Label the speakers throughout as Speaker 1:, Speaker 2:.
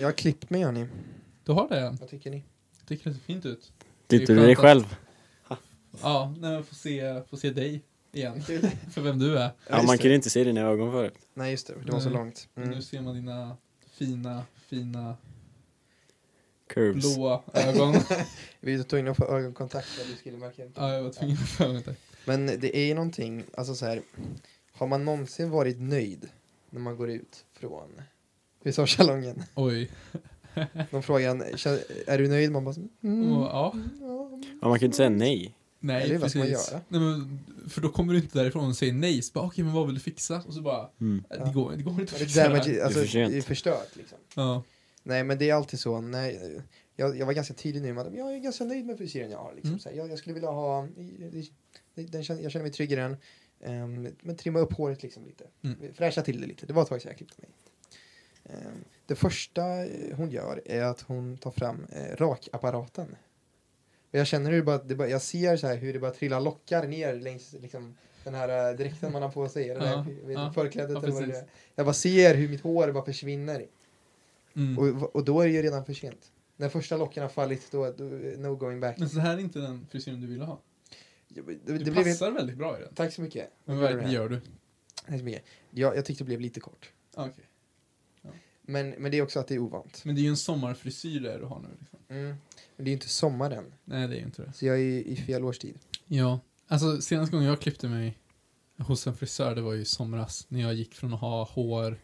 Speaker 1: Jag har klippt mig hörni.
Speaker 2: Du har det?
Speaker 1: Vad tycker ni?
Speaker 2: Jag tycker det ser fint ut.
Speaker 3: Tittar du dig typ själv?
Speaker 2: Ja, nej, men får se, får se dig igen. För vem du är.
Speaker 3: Ja, man kunde inte se dina ögon förut.
Speaker 1: Nej just det, det var så
Speaker 2: Nej.
Speaker 1: långt. Mm.
Speaker 2: Nu ser man dina fina, fina
Speaker 3: Curves.
Speaker 2: blåa ögon.
Speaker 1: Vi tog in och på ögonkontakt där du skulle märka det.
Speaker 2: ja, jag var tvungen att fråga dig.
Speaker 1: Men det är ju någonting, alltså så här. Har man någonsin varit nöjd när man går ut från frisörsalongen?
Speaker 2: Oj.
Speaker 1: De frågar, "Kän- är du nöjd? Man bara, så, mm,
Speaker 2: Och, ja.
Speaker 1: ja.
Speaker 3: Ja, man kunde inte säga nej.
Speaker 2: Nej,
Speaker 1: Eller vad
Speaker 2: precis.
Speaker 1: ska man göra?
Speaker 2: Nej, men, för då kommer du inte därifrån och säger nej. Så bara, okej, men vad vill du fixa? Och så bara,
Speaker 3: Mm.
Speaker 2: "Äh,
Speaker 1: Ja.
Speaker 2: det går, det går inte att
Speaker 1: Det,
Speaker 2: fixa det
Speaker 1: där, men,
Speaker 2: här.
Speaker 1: det- alltså,
Speaker 3: för sent.
Speaker 1: det är förstört liksom.
Speaker 2: Ja.
Speaker 1: Nej men det är alltid så, nej, jag, jag var ganska tydlig nu med att jag är ganska nöjd med frisyren jag har. Liksom.
Speaker 2: Mm.
Speaker 1: Så här, jag, jag skulle vilja ha, den, kän- jag känner mig trygg i den. Ehm, men trimma upp håret liksom lite.
Speaker 2: Mm.
Speaker 1: Fräscha till det lite. Det var ett tag sedan jag klippte mig. Ehm, det första eh, hon gör är att hon tar fram eh, rakapparaten. Och jag känner hur det bara, det bara, jag ser så här hur det bara trillar lockar ner längs liksom, den här eh, dräkten man har på sig. Eller
Speaker 2: Ja,
Speaker 1: det här,
Speaker 2: ja.
Speaker 1: förklädet
Speaker 2: Ja,
Speaker 1: eller vad det
Speaker 2: precis.
Speaker 1: är. Jag bara ser hur mitt hår bara försvinner.
Speaker 2: Mm.
Speaker 1: Och, och då är det ju redan för sent. När första locken har fallit, då, då no going back.
Speaker 2: Men så här är inte den frisyren du ville ha.
Speaker 1: Det, det,
Speaker 2: Du
Speaker 1: det blev,
Speaker 2: passar väldigt bra i den.
Speaker 1: tack så mycket.
Speaker 2: Men
Speaker 1: Vad gör du
Speaker 2: vad
Speaker 1: här?
Speaker 2: gör du?
Speaker 1: Tack så mycket. Jag, jag tyckte det blev lite kort.
Speaker 2: Ah, Okej.
Speaker 1: Men, men det är också att det är ovant.
Speaker 2: Men det är ju en sommarfrisyr där du har nu. Liksom.
Speaker 1: Mm. Men det är ju inte sommar än,
Speaker 2: Nej, det är ju inte det.
Speaker 1: så jag är ju i fel årstid.
Speaker 2: Ja, alltså senaste gången jag klippte mig hos en frisör, det var ju i somras. När jag gick från att ha hår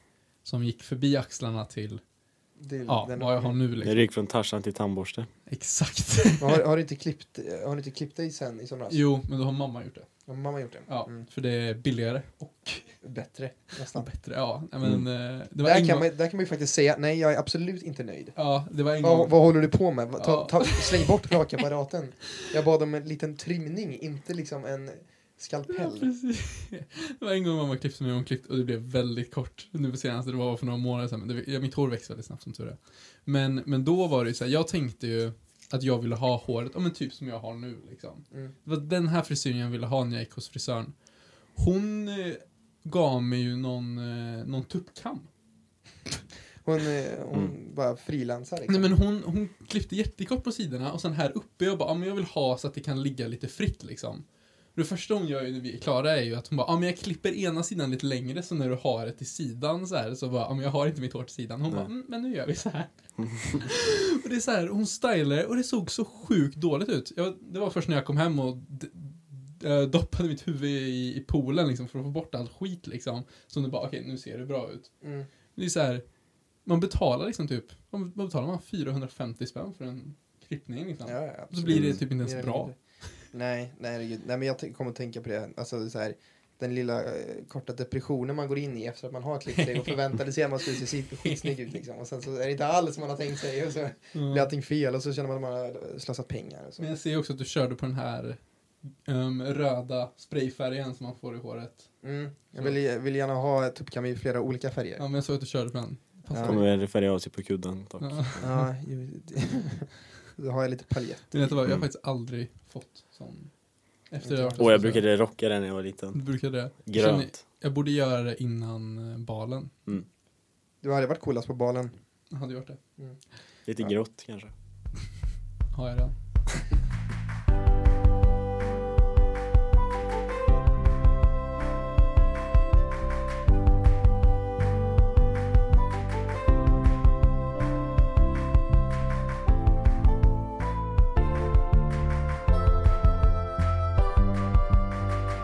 Speaker 2: som gick förbi axlarna till,
Speaker 1: Det är
Speaker 2: ja,
Speaker 1: den-
Speaker 2: vad jag har nu liksom.
Speaker 3: När du gick från Tarzan till tandborste.
Speaker 2: Exakt.
Speaker 1: Men Har, har, du inte klippt, har du inte klippt dig sen i somras?
Speaker 2: Jo, men då har mamma gjort det.
Speaker 1: Har mamma gjort det?
Speaker 2: Ja,
Speaker 1: Mm.
Speaker 2: för det är billigare och
Speaker 1: Bättre, nästan.
Speaker 2: bättre. Ja, nej, men eh, det var
Speaker 1: Där
Speaker 2: en
Speaker 1: Mm. kan,
Speaker 2: gång-
Speaker 1: man, där kan man ju faktiskt säga, nej jag är absolut inte nöjd.
Speaker 2: Ja, det var en
Speaker 1: Vad,
Speaker 2: gång.
Speaker 1: vad håller du på med? Va- Ta,
Speaker 2: Ja.
Speaker 1: ta, släng bort rakapparaten. Jag bad om en liten trimning, inte liksom en
Speaker 2: Ja,
Speaker 1: skalpell.
Speaker 2: precis. Det var en gång mamma klippte mig och hon klippte och det blev väldigt kort. Nu på senaste, det var för några månader sedan. Men det, ja, mitt hår växte väldigt snabbt som tur är. Men, men då var det ju så här, jag tänkte ju att jag ville ha håret, ja men typ som jag har nu liksom.
Speaker 1: Mm.
Speaker 2: Det var den här frisyren jag ville ha när jag gick hos frisören. Hon eh, gav mig ju någon, eh, någon tuppkam.
Speaker 1: Hon, eh, hon bara frilansar liksom.
Speaker 2: Nej men hon, hon klippte jättekort på sidorna och sen här uppe jag bara, ja men jag vill ha så att det kan ligga lite fritt liksom. Det första hon gör ju när vi är klara är ju att hon bara, ja men jag klipper ena sidan lite längre så när du har det till sidan så här så bara, ja men jag har inte mitt hår till sidan. Hon bara,
Speaker 3: Nej.
Speaker 2: mm, men nu gör vi så här. och det är så här, hon stylar och det såg så sjukt dåligt ut. Jag, det var först när jag kom hem och d- eh, doppade mitt huvud i, i poolen liksom för att få bort all skit liksom. Som det bara, okej nu ser det bra ut.
Speaker 1: mm.
Speaker 2: Det är så här, man betalar liksom typ, man vad betalar man 450 spänn för en klippning liksom.
Speaker 1: ja, ja, absolut.
Speaker 2: så blir det typ inte
Speaker 1: Mer
Speaker 2: ens
Speaker 1: eller
Speaker 2: bra.
Speaker 1: mindre. Nej, nej, herregud. nej men jag t- kommer att tänka på det. här. Alltså, det är så här, den lilla eh, korta depressionen man går in i efter att man har klippt sig och förväntade sig att man skulle se sit- skitsnygg ut. Liksom. Och sen så är det inte alls som man har tänkt sig och så blir allting fel och så känner man att man har slösat pengar. Och så.
Speaker 2: Mm. Men jag ser också att du körde på den här ehm, röda sprayfärgen som man får i håret.
Speaker 1: Mm. Jag vill, jag vill gärna ha tuppkam i flera olika färger.
Speaker 2: Ja, men jag såg att du körde på den. Passar
Speaker 1: Ja.
Speaker 2: det?
Speaker 3: Kommer att färga av sig på kudden dock.
Speaker 2: Ja.
Speaker 1: Ja, ju- då har jag lite paljett.
Speaker 2: Men vet du vad, jag har
Speaker 3: Mm.
Speaker 2: faktiskt aldrig fått sån. Efter det
Speaker 1: Okej.
Speaker 3: Och jag brukade rocka den när jag var liten.
Speaker 2: Du brukade det? Känner-
Speaker 3: Grönt.
Speaker 2: Jag borde göra det innan eh, balen.
Speaker 1: Du hade varit coolast på balen.
Speaker 2: Jag hade gjort det.
Speaker 3: Lite
Speaker 1: Ja.
Speaker 3: grått kanske.
Speaker 2: Har jag den.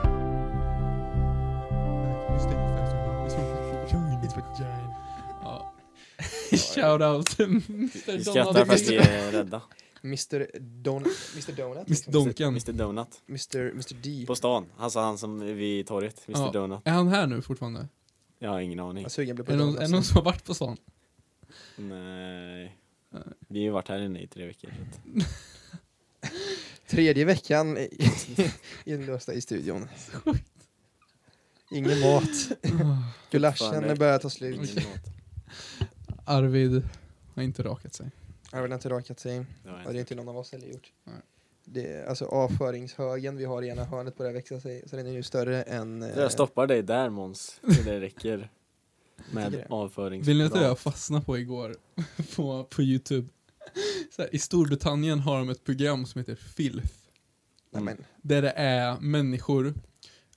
Speaker 2: Ja. Shout out till
Speaker 3: Vi
Speaker 2: Mr
Speaker 3: skrattar
Speaker 2: Donald.
Speaker 3: fast vi är rädda.
Speaker 1: Mr, Don- Mr Donut.
Speaker 2: Mr Donken.
Speaker 3: Mr Donut.
Speaker 1: Mr, Mr D.
Speaker 3: På stan. Alltså han som är vid torget. Mr
Speaker 2: Ja.
Speaker 3: Donut.
Speaker 2: Är han här nu fortfarande?
Speaker 3: Jag har ingen aning.
Speaker 1: Jag sugen blev på alltså.
Speaker 2: Är det någon, är det någon som har varit på stan?
Speaker 3: Nej. Vi har ju varit här inne i tre veckor. så att-
Speaker 1: Tredje veckan i- inlåsta i studion. Ingen mat.
Speaker 2: Ah.
Speaker 3: Fan,
Speaker 1: Gulaschen
Speaker 3: nej. Mm.
Speaker 1: börjar ta slut.
Speaker 3: Ingen mat.
Speaker 2: Arvid har inte rakat sig.
Speaker 1: Arvid har inte rakat sig.
Speaker 3: Det har jag
Speaker 1: Och det är
Speaker 3: inte.
Speaker 1: inte någon av oss heller gjort.
Speaker 2: Nej.
Speaker 1: Det är, alltså avföringshögen vi har i ena hörnet börjar växa sig. Så den är ju större än... eh,
Speaker 3: Jag stoppar dig där Måns. Så Det räcker. Med
Speaker 1: tycker det.
Speaker 3: avförings...
Speaker 2: Vill ni veta vad jag fastnade på igår på, på Youtube? Så här, I Storbritannien har de ett program som heter Filth.
Speaker 1: Nej,
Speaker 3: Mm.
Speaker 1: men,
Speaker 2: Där det är människor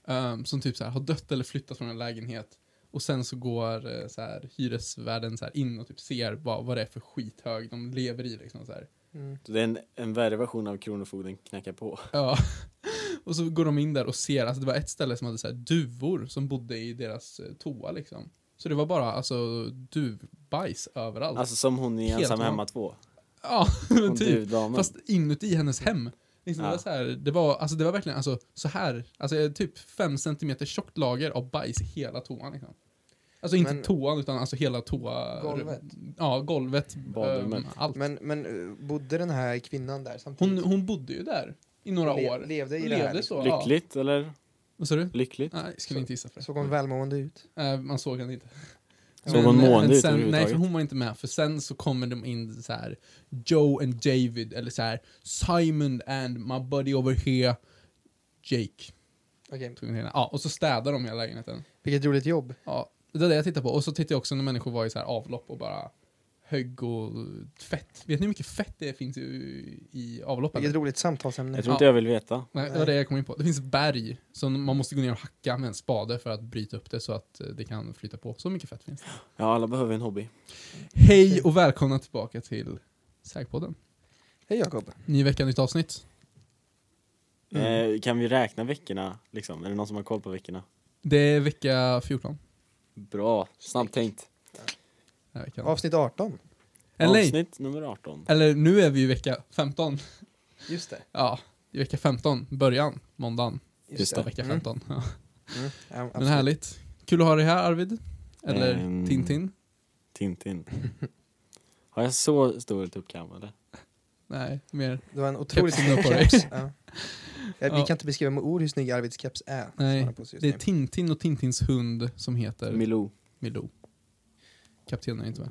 Speaker 2: ehm, som typ så här, har dött eller flyttat från en lägenhet. Och sen så går eh, så här, hyresvärden så här, in och typ ser vad, vad det är för skithög de lever i. Liksom, så här.
Speaker 1: mm.
Speaker 3: Så Det är en, en värre version av Kronofogden knackar på.
Speaker 2: Ja. Och så går de in där och ser, alltså det var ett ställe som hade så här duvor som bodde i deras eh, toa liksom. Så det var bara alltså duvbajs överallt.
Speaker 3: Alltså som hon i
Speaker 2: Helt
Speaker 3: Ensam
Speaker 2: van.
Speaker 3: hemma 2.
Speaker 2: ja,
Speaker 3: Hon
Speaker 2: men typ.
Speaker 3: duvdamen.
Speaker 2: Fast inuti hennes hem. Liksom det,
Speaker 3: Ja.
Speaker 2: var så här, det, var, alltså det var verkligen alltså, så här, alltså, eh, typ fem centimeter tjockt lager av bajs i hela toan. Liksom. Alltså inte
Speaker 1: Men-
Speaker 2: toan utan alltså hela toa...
Speaker 1: Golvet.
Speaker 2: Ja, golvet.
Speaker 3: Badrummet.
Speaker 2: ehm, allt.
Speaker 1: men, men eh, bodde den här kvinnan där samtidigt?
Speaker 2: hon, hon bodde ju där i några
Speaker 1: Le-
Speaker 2: år.
Speaker 1: Levde i
Speaker 2: Hon
Speaker 1: det här.
Speaker 2: levde
Speaker 1: liksom.
Speaker 2: så. Ja.
Speaker 3: Lyckligt eller?
Speaker 2: Vad sa du?
Speaker 3: Lyckligt?
Speaker 2: Nej, skulle inte gissa för det.
Speaker 1: Såg hon välmående ut?
Speaker 2: Eh, man såg henne inte.
Speaker 3: Såg hon mående ut
Speaker 2: sen, Nej,
Speaker 3: överhuvudtaget?
Speaker 2: för hon var inte med. För sen så kommer de in så här Joe and David, eller så här Simon and my buddy over here, Jake.
Speaker 1: Okej.
Speaker 2: Tog den ena. Ja, och så städar de hela lägenheten.
Speaker 1: Vilket roligt jobb.
Speaker 2: Ja, det är det jag tittar på. Och så tittar jag också när människor var i så här avlopp och bara högg och fett. Vet ni hur mycket fett det finns i, i avloppen?
Speaker 1: Vilket roligt samtalsämne.
Speaker 3: Jag tror
Speaker 2: Ja.
Speaker 3: inte jag vill veta.
Speaker 2: Nej, det var det jag kom in på. Det finns berg som man måste gå ner och hacka med en spade för att bryta upp det så att eh, det kan flyta på. Så mycket fett finns det.
Speaker 3: Ja, alla behöver en hobby.
Speaker 2: Hej och välkomna tillbaka till Sägpodden.
Speaker 1: Hej Jakob.
Speaker 2: Ny vecka, nytt avsnitt.
Speaker 3: Eh, kan vi räkna veckorna? Liksom? Är det någon som har koll på veckorna?
Speaker 2: Det är vecka 14.
Speaker 3: Bra, snabbt tänkt.
Speaker 2: Den här veckan.
Speaker 1: Avsnitt 18.
Speaker 2: Eller nej,
Speaker 3: Avsnitt nummer 18.
Speaker 2: eller nu är vi ju vecka 15.
Speaker 1: Just det.
Speaker 2: Ja, i vecka 15, början, måndagen.
Speaker 3: Just
Speaker 2: Just vecka 15. Ja.
Speaker 1: Mm. Mm. Ja,
Speaker 2: Men
Speaker 1: Mm. absolut.
Speaker 2: härligt. Kul att ha dig här Arvid. Eller
Speaker 3: Ehm.
Speaker 2: Tintin.
Speaker 3: Tintin. Har jag så stor tuppkam eller?
Speaker 2: Nej, mer.
Speaker 1: Det var en otroligt
Speaker 2: Kepsen
Speaker 1: snygg
Speaker 2: på dig.
Speaker 1: keps. Ja. Ja, vi
Speaker 2: Ja.
Speaker 1: kan inte beskriva med ord hur snygg Arvids keps är. som
Speaker 2: Nej,
Speaker 1: han har på sig just
Speaker 2: Det är
Speaker 1: nu.
Speaker 2: Tintin och Tintins hund som heter
Speaker 3: Milou.
Speaker 2: Milou. Kaptenen är inte med.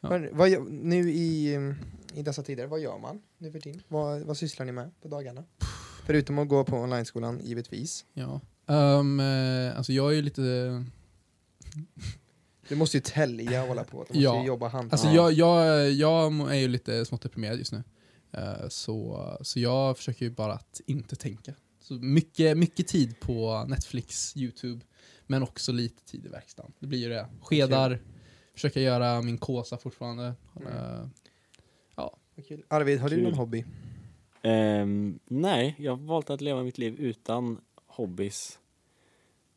Speaker 2: ja.
Speaker 1: Men vad, gör- nu i, mm, i dessa tider, vad gör man nu för tiden? Vad, vad sysslar ni med på dagarna? Förutom att gå på onlineskolan, givetvis.
Speaker 2: Ja. Ehm, eh, alltså jag är ju lite...
Speaker 1: Du måste ju tälja och hålla på. Du måste
Speaker 2: Ja.
Speaker 1: ju jobba hand.
Speaker 2: Alltså
Speaker 3: Ja.
Speaker 2: jag, jag, jag är ju lite smått deprimerad just nu. Eh, så, så jag försöker ju bara att inte tänka. Så mycket, mycket tid på Netflix, YouTube, men också lite tid i verkstaden. Det blir ju det. Skedar, försöka göra min kåsa fortfarande.
Speaker 1: Mm.
Speaker 2: Eh,
Speaker 1: Vad kul. Arvid, har du
Speaker 3: Kul.
Speaker 1: någon hobby?
Speaker 3: Ehm, nej, jag har valt att leva mitt liv utan hobbys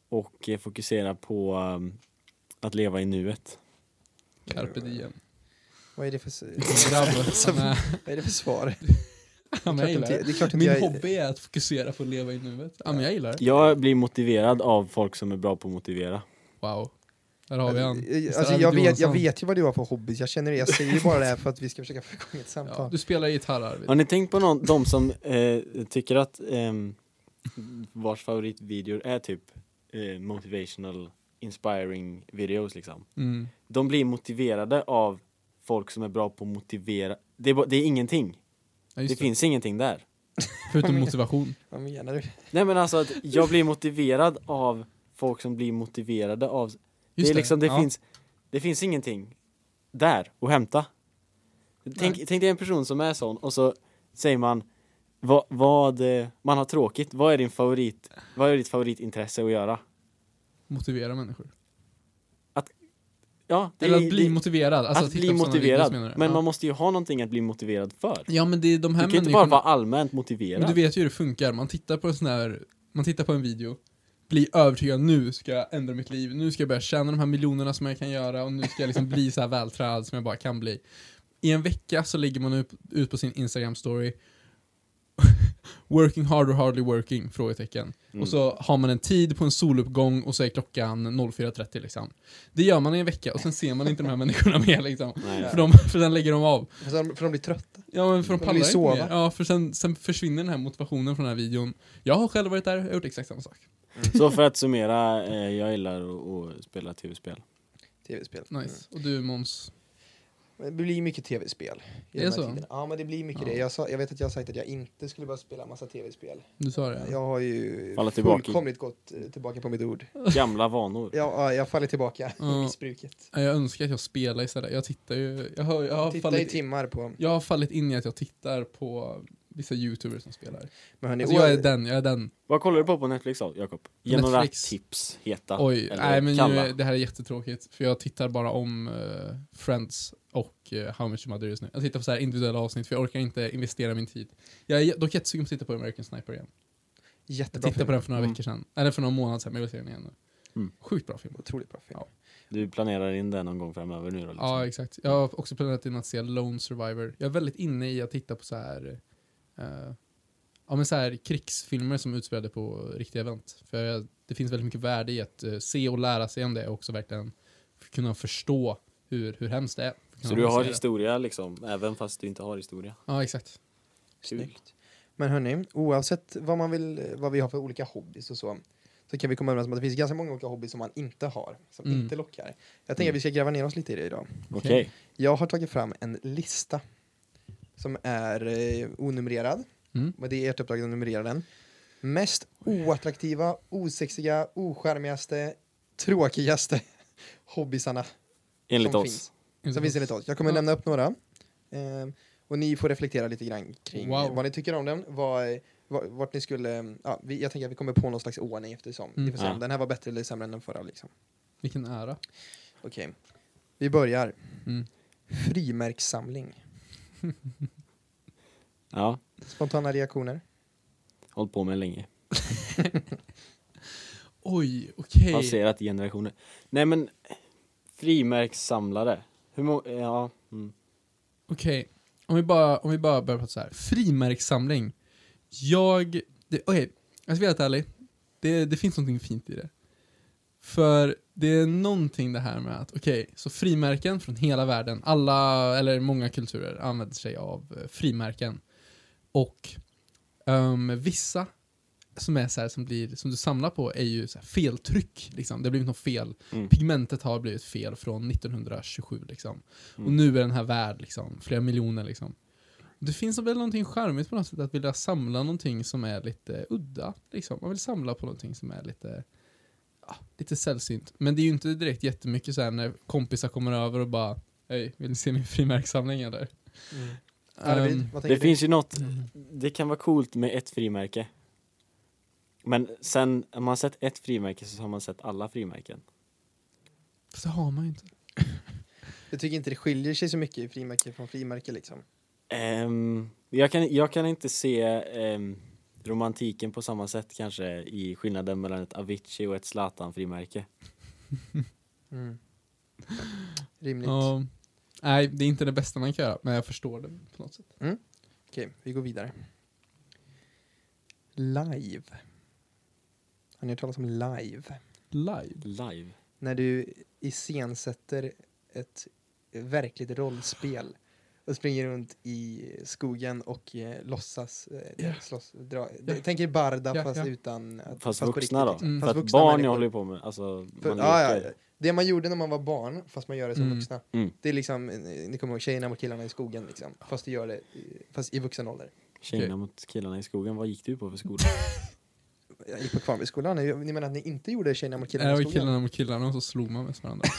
Speaker 3: och eh, fokusera på ehm, att leva i nuet.
Speaker 2: carpe diem.
Speaker 1: Vad är det för, s-
Speaker 2: Grabb. Han är-
Speaker 1: vad är det för svar?
Speaker 2: han
Speaker 1: det, är
Speaker 2: är
Speaker 1: klart inte,
Speaker 2: gillar
Speaker 1: det är klart inte
Speaker 2: det. Min
Speaker 1: jag,
Speaker 2: hobby är att fokusera på att leva i nuet. Ja, men jag gillar det.
Speaker 3: Jag blir motiverad av folk som är bra på att motivera.
Speaker 2: Wow. Där har vi han. Mr.
Speaker 1: Alltså, jag,
Speaker 2: Arvid
Speaker 1: vet, jag
Speaker 2: Johansson.
Speaker 1: vet ju vad du har för hobby. Jag känner det. Jag säger ju bara det här för att vi ska försöka få igång ett
Speaker 2: Ja,
Speaker 1: samtal.
Speaker 2: du spelar gitarr Arvid.
Speaker 3: Har ni tänkt på någon, de som eh, tycker att ehm, vars favoritvideor är typ eh, motivational, inspiring videos liksom?
Speaker 2: Mm.
Speaker 3: De blir motiverade av folk som är bra på att motivera. Det är, ba- det är ingenting.
Speaker 2: Ja,
Speaker 3: Det,
Speaker 2: just det.
Speaker 3: finns ingenting där.
Speaker 2: Förutom motivation.
Speaker 1: Vad menar du?
Speaker 3: Nej men alltså att jag blir motiverad av folk som blir motiverade av...
Speaker 2: Just
Speaker 3: det är liksom, det,
Speaker 2: Ja.
Speaker 3: finns, det finns ingenting där att hämta. Tänk, tänk dig en person som är sån och så säger man vad, vad eh, man har tråkigt, vad är din favorit, vad är ditt favoritintresse att göra?
Speaker 2: Motivera människor.
Speaker 3: Ja, det
Speaker 2: Eller
Speaker 3: är-
Speaker 2: att bli
Speaker 3: det-
Speaker 2: motiverad. Alltså,
Speaker 3: att
Speaker 2: titta
Speaker 3: bli
Speaker 2: på sådana
Speaker 3: motiverad.
Speaker 2: videos, menar du?
Speaker 3: Men
Speaker 2: ja.
Speaker 3: man måste ju ha någonting att bli motiverad för.
Speaker 2: ja, men det är de
Speaker 3: Du
Speaker 2: här
Speaker 3: kan ju inte bara vara allmänt motiverad.
Speaker 2: Men du vet ju hur det funkar. Man tittar på en sån här... Man tittar på en video. Blir övertygad, nu ska jag ändra mitt liv. Nu ska jag börja tjäna de här miljonerna som jag kan göra och nu ska jag liksom bli så här vältränad som jag bara kan bli. I en vecka så lägger man upp, ut på sin Instagram-story Working hard or hardly working? Frågetecken. Och så har man en tid på en soluppgång och så är klockan 04.30 liksom. Det gör man i en vecka och sen ser man inte de här människorna mer liksom.
Speaker 3: Nej.
Speaker 2: För, de, för sen lägger de av.
Speaker 1: För de, för de blir trötta.
Speaker 2: Ja men för de
Speaker 1: De
Speaker 2: pallar
Speaker 1: vill
Speaker 2: inte
Speaker 1: sova.
Speaker 2: mer. Ja för sen, sen försvinner den här motivationen från den här videon. Jag har själv varit där och gjort exakt samma sak.
Speaker 3: Så för att summera, eh, jag gillar att, att spela tv-spel.
Speaker 1: Tv-spel. Mm.
Speaker 2: Nice. Och du Måns?
Speaker 1: Det blir mycket tv-spel. i
Speaker 2: Det är
Speaker 1: de här
Speaker 2: så?
Speaker 1: tiderna. Ja, men det blir mycket
Speaker 2: Ja.
Speaker 1: det. Jag, sa, jag vet att jag har sagt att jag inte skulle börja spela massa tv-spel.
Speaker 2: Du sa det?
Speaker 1: Jag har ju
Speaker 3: Falla tillbaka i-
Speaker 1: fullkomligt gått eh, tillbaka på mitt ord.
Speaker 3: Gamla vanor.
Speaker 1: Jag, ja, jag faller tillbaka
Speaker 2: Ja.
Speaker 1: i missbruket.
Speaker 2: Nej, Jag önskar att jag spelar istället. Jag tittar ju... Jag har, jag har,
Speaker 1: Titta i
Speaker 2: fallit, in,
Speaker 1: timmar på...
Speaker 2: jag har fallit in i att jag tittar på vissa youtubers som spelar.
Speaker 1: Men hörni,
Speaker 2: Alltså, jag är den, jag är den.
Speaker 3: Vad kollar du på på Netflix då, Jakob? Ge några
Speaker 2: Netflix.
Speaker 3: tips, heta
Speaker 2: Oj,
Speaker 3: eller
Speaker 2: nej men
Speaker 3: kalla.
Speaker 2: nu, det här är jättetråkigt. För jag tittar bara om eh, Friends och eh, How Much Mother just nu. Jag tittar på så här individuella avsnitt för jag orkar inte investera min tid. Jag är dock jättesugen på att titta på American Sniper igen. Jag
Speaker 1: jättebra
Speaker 2: tittade
Speaker 1: film.
Speaker 2: på den för några
Speaker 3: Mm.
Speaker 2: veckor sedan. Eller för någon månad sedan, men jag vill se den igen nu.
Speaker 3: Mm.
Speaker 2: Sjukt bra film.
Speaker 1: Otroligt bra film.
Speaker 2: Ja.
Speaker 3: Du planerar in det någon gång framöver nu då? Liksom.
Speaker 2: Ja, exakt. Jag har också planerat in att se Lone Survivor. Jag är väldigt inne i att titta på så här, eh, ja, men så här krigsfilmer som utspelade på riktiga event. För jag, det finns väldigt mycket värde i att eh, se och lära sig om det och också verkligen f- kunna förstå hur, hur hemskt det är. Kunna
Speaker 3: Så du har
Speaker 2: analysera.
Speaker 3: historia liksom, även fast du inte har historia?
Speaker 2: Ja, exakt.
Speaker 1: Snyggt. Men hörni, oavsett vad, man vill, vad vi har för olika hobbys och så, så kan vi komma överens om att det finns ganska många olika hobbys som man inte har, som
Speaker 2: Mm.
Speaker 1: inte lockar. Jag tänker att vi ska gräva ner oss lite i det idag.
Speaker 3: Okej.
Speaker 1: Jag har tagit fram en lista som är eh, onumrerad.
Speaker 2: Mm.
Speaker 1: Men det är ert uppdrag att numrera den. Mest oattraktiva, osexiga, oskärmigaste, tråkigaste hobbysarna
Speaker 3: Enligt
Speaker 1: som
Speaker 3: oss.
Speaker 1: finns. Som finns enligt oss. Jag kommer
Speaker 2: Ja.
Speaker 1: nämna upp några. Eh, och ni får reflektera lite grann kring
Speaker 2: Wow.
Speaker 1: vad ni tycker om den. Vad, vad, vart ni skulle... Ja, vi, jag tänker att vi kommer på någon slags ordning eftersom.
Speaker 2: Mm.
Speaker 1: Vi får se om
Speaker 3: Ja.
Speaker 1: den här var bättre eller sämre än den förra. Liksom.
Speaker 2: Vilken ära.
Speaker 1: Okej. Vi börjar.
Speaker 2: Mm.
Speaker 1: Frimärkssamling.
Speaker 3: Ja,
Speaker 1: Spontana reaktioner.
Speaker 3: hållit på med länge.
Speaker 2: Oj, okej.
Speaker 3: Passerat generationer. Nej men, frimärkssamlare. Hur många, ja. Mm.
Speaker 2: Okej, om, vi bara- om vi bara börjar prata så här. Frimärkssamling. Jag, det- okej, jag ska vara helt ärlig. Det, det finns någonting fint i det. För det är någonting det här med att, okej, så frimärken från hela världen, alla, eller många kulturer använder sig av eh, frimärken. Och ehm, vissa som är så här, som, blir, som du samlar på är ju så här feltryck, liksom. Det har blivit något fel.
Speaker 3: Mm.
Speaker 2: Pigmentet har blivit fel från 1927, liksom. Och
Speaker 3: Mm.
Speaker 2: nu är den här värd liksom, flera miljoner liksom. Det finns väl någonting charmigt på något sätt att vilja samla någonting som är lite udda. Liksom. Man vill samla på någonting som är lite, ja, lite sällsynt. Men det är ju inte direkt jättemycket så här när kompisar kommer över och bara Hej, vill ni se min frimärkssamling eller?
Speaker 1: Arvid,
Speaker 2: Ehm,
Speaker 1: vad tänker
Speaker 3: Det
Speaker 1: du?
Speaker 3: finns ju något,
Speaker 2: Mm.
Speaker 3: det kan vara coolt med ett frimärke. Men sen, om man har sett ett frimärke så har man sett alla frimärken.
Speaker 2: Fast det har man ju inte.
Speaker 1: Jag tycker inte det skiljer sig så mycket i frimärke från frimärke liksom.
Speaker 3: Ehm, jag, kan, jag kan inte se ehm, romantiken på samma sätt kanske i skillnaden mellan ett Avicii och ett Zlatan-frimärke.
Speaker 1: Mm. Rimligt.
Speaker 2: Ja. nej, det är inte det bästa man kan göra, men jag förstår det på något sätt.
Speaker 1: Okej, vi går vidare. Live. Har ni hört talas om live?
Speaker 2: Live.
Speaker 3: Live.
Speaker 1: När du iscensätter ett verkligt rollspel och springer runt i skogen och eh, låtsas eh, slåss. Dra, Tänk er Barda
Speaker 2: Ja,
Speaker 1: fast
Speaker 2: ja.
Speaker 1: utan... att-
Speaker 3: Fast,
Speaker 1: på
Speaker 3: vuxna
Speaker 1: riktigt,
Speaker 3: då?
Speaker 1: liksom.
Speaker 2: Mm.
Speaker 3: För
Speaker 1: Fast
Speaker 3: att
Speaker 1: vuxna
Speaker 3: barn jag
Speaker 1: människor.
Speaker 3: håller på med, alltså
Speaker 1: För,
Speaker 3: man
Speaker 1: ja,
Speaker 3: leker.
Speaker 1: ja. Det man gjorde när man var barn, fast man gör det som
Speaker 2: Mm.
Speaker 1: vuxna.
Speaker 3: Mm.
Speaker 1: Det är liksom, eh, ni kommer ihåg tjejerna mot killarna i skogen liksom. Fast du gör det, eh, fast i vuxen ålder.
Speaker 3: Tjejerna
Speaker 2: Okej.
Speaker 3: mot killarna i skogen, vad gick du på för skola?
Speaker 1: Jag gick på Kvarnbyskolan, ni ni menar att ni inte gjorde tjejerna mot
Speaker 2: Killarna
Speaker 1: killarna i
Speaker 2: det var
Speaker 1: skogen?
Speaker 2: killarna mot killarna och så slog man mest varandra.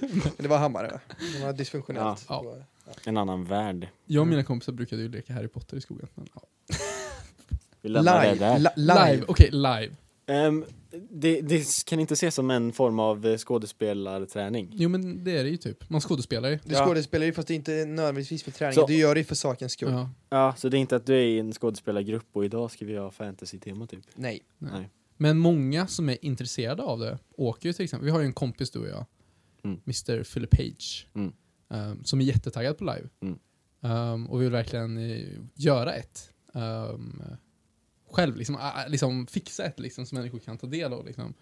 Speaker 1: Men det var Hammare va? Det var dysfunktionellt.
Speaker 2: Ja.
Speaker 1: på-
Speaker 3: en annan värld.
Speaker 2: Jag och mina kompisar brukade ju leka Harry Potter i skogen. Men, ja.
Speaker 3: Vi lämnar det
Speaker 1: Live,
Speaker 3: där.
Speaker 1: li-
Speaker 2: Live,
Speaker 1: live.
Speaker 2: okej, live.
Speaker 3: Ehm, det, det kan inte ses som en form av eh, skådespelarträning.
Speaker 2: Jo men det är det ju typ. Man skådespelar ju.
Speaker 1: Du
Speaker 3: Ja.
Speaker 1: skådespelar ju fast det är inte nödvändigtvis för träningen,
Speaker 3: Så-
Speaker 1: du gör det ju för sakens skull.
Speaker 2: Ja.
Speaker 3: Ja, så det är inte att du är i en skådespelargrupp och idag ska vi ha fantasy-tema typ.
Speaker 1: Nej.
Speaker 2: Men många som är intresserade av det åker ju till exempel. Vi har ju en kompis du och jag,
Speaker 3: Mm.
Speaker 2: Mr. Philip Page,
Speaker 3: Mm.
Speaker 2: ehm, som är jättetaggad på live.
Speaker 3: Mm.
Speaker 2: Ehm, och vill verkligen eh, göra ett. ehm, själv, liksom, ah, ah, liksom fixa ett liksom, som människor kan ta del av. Liksom.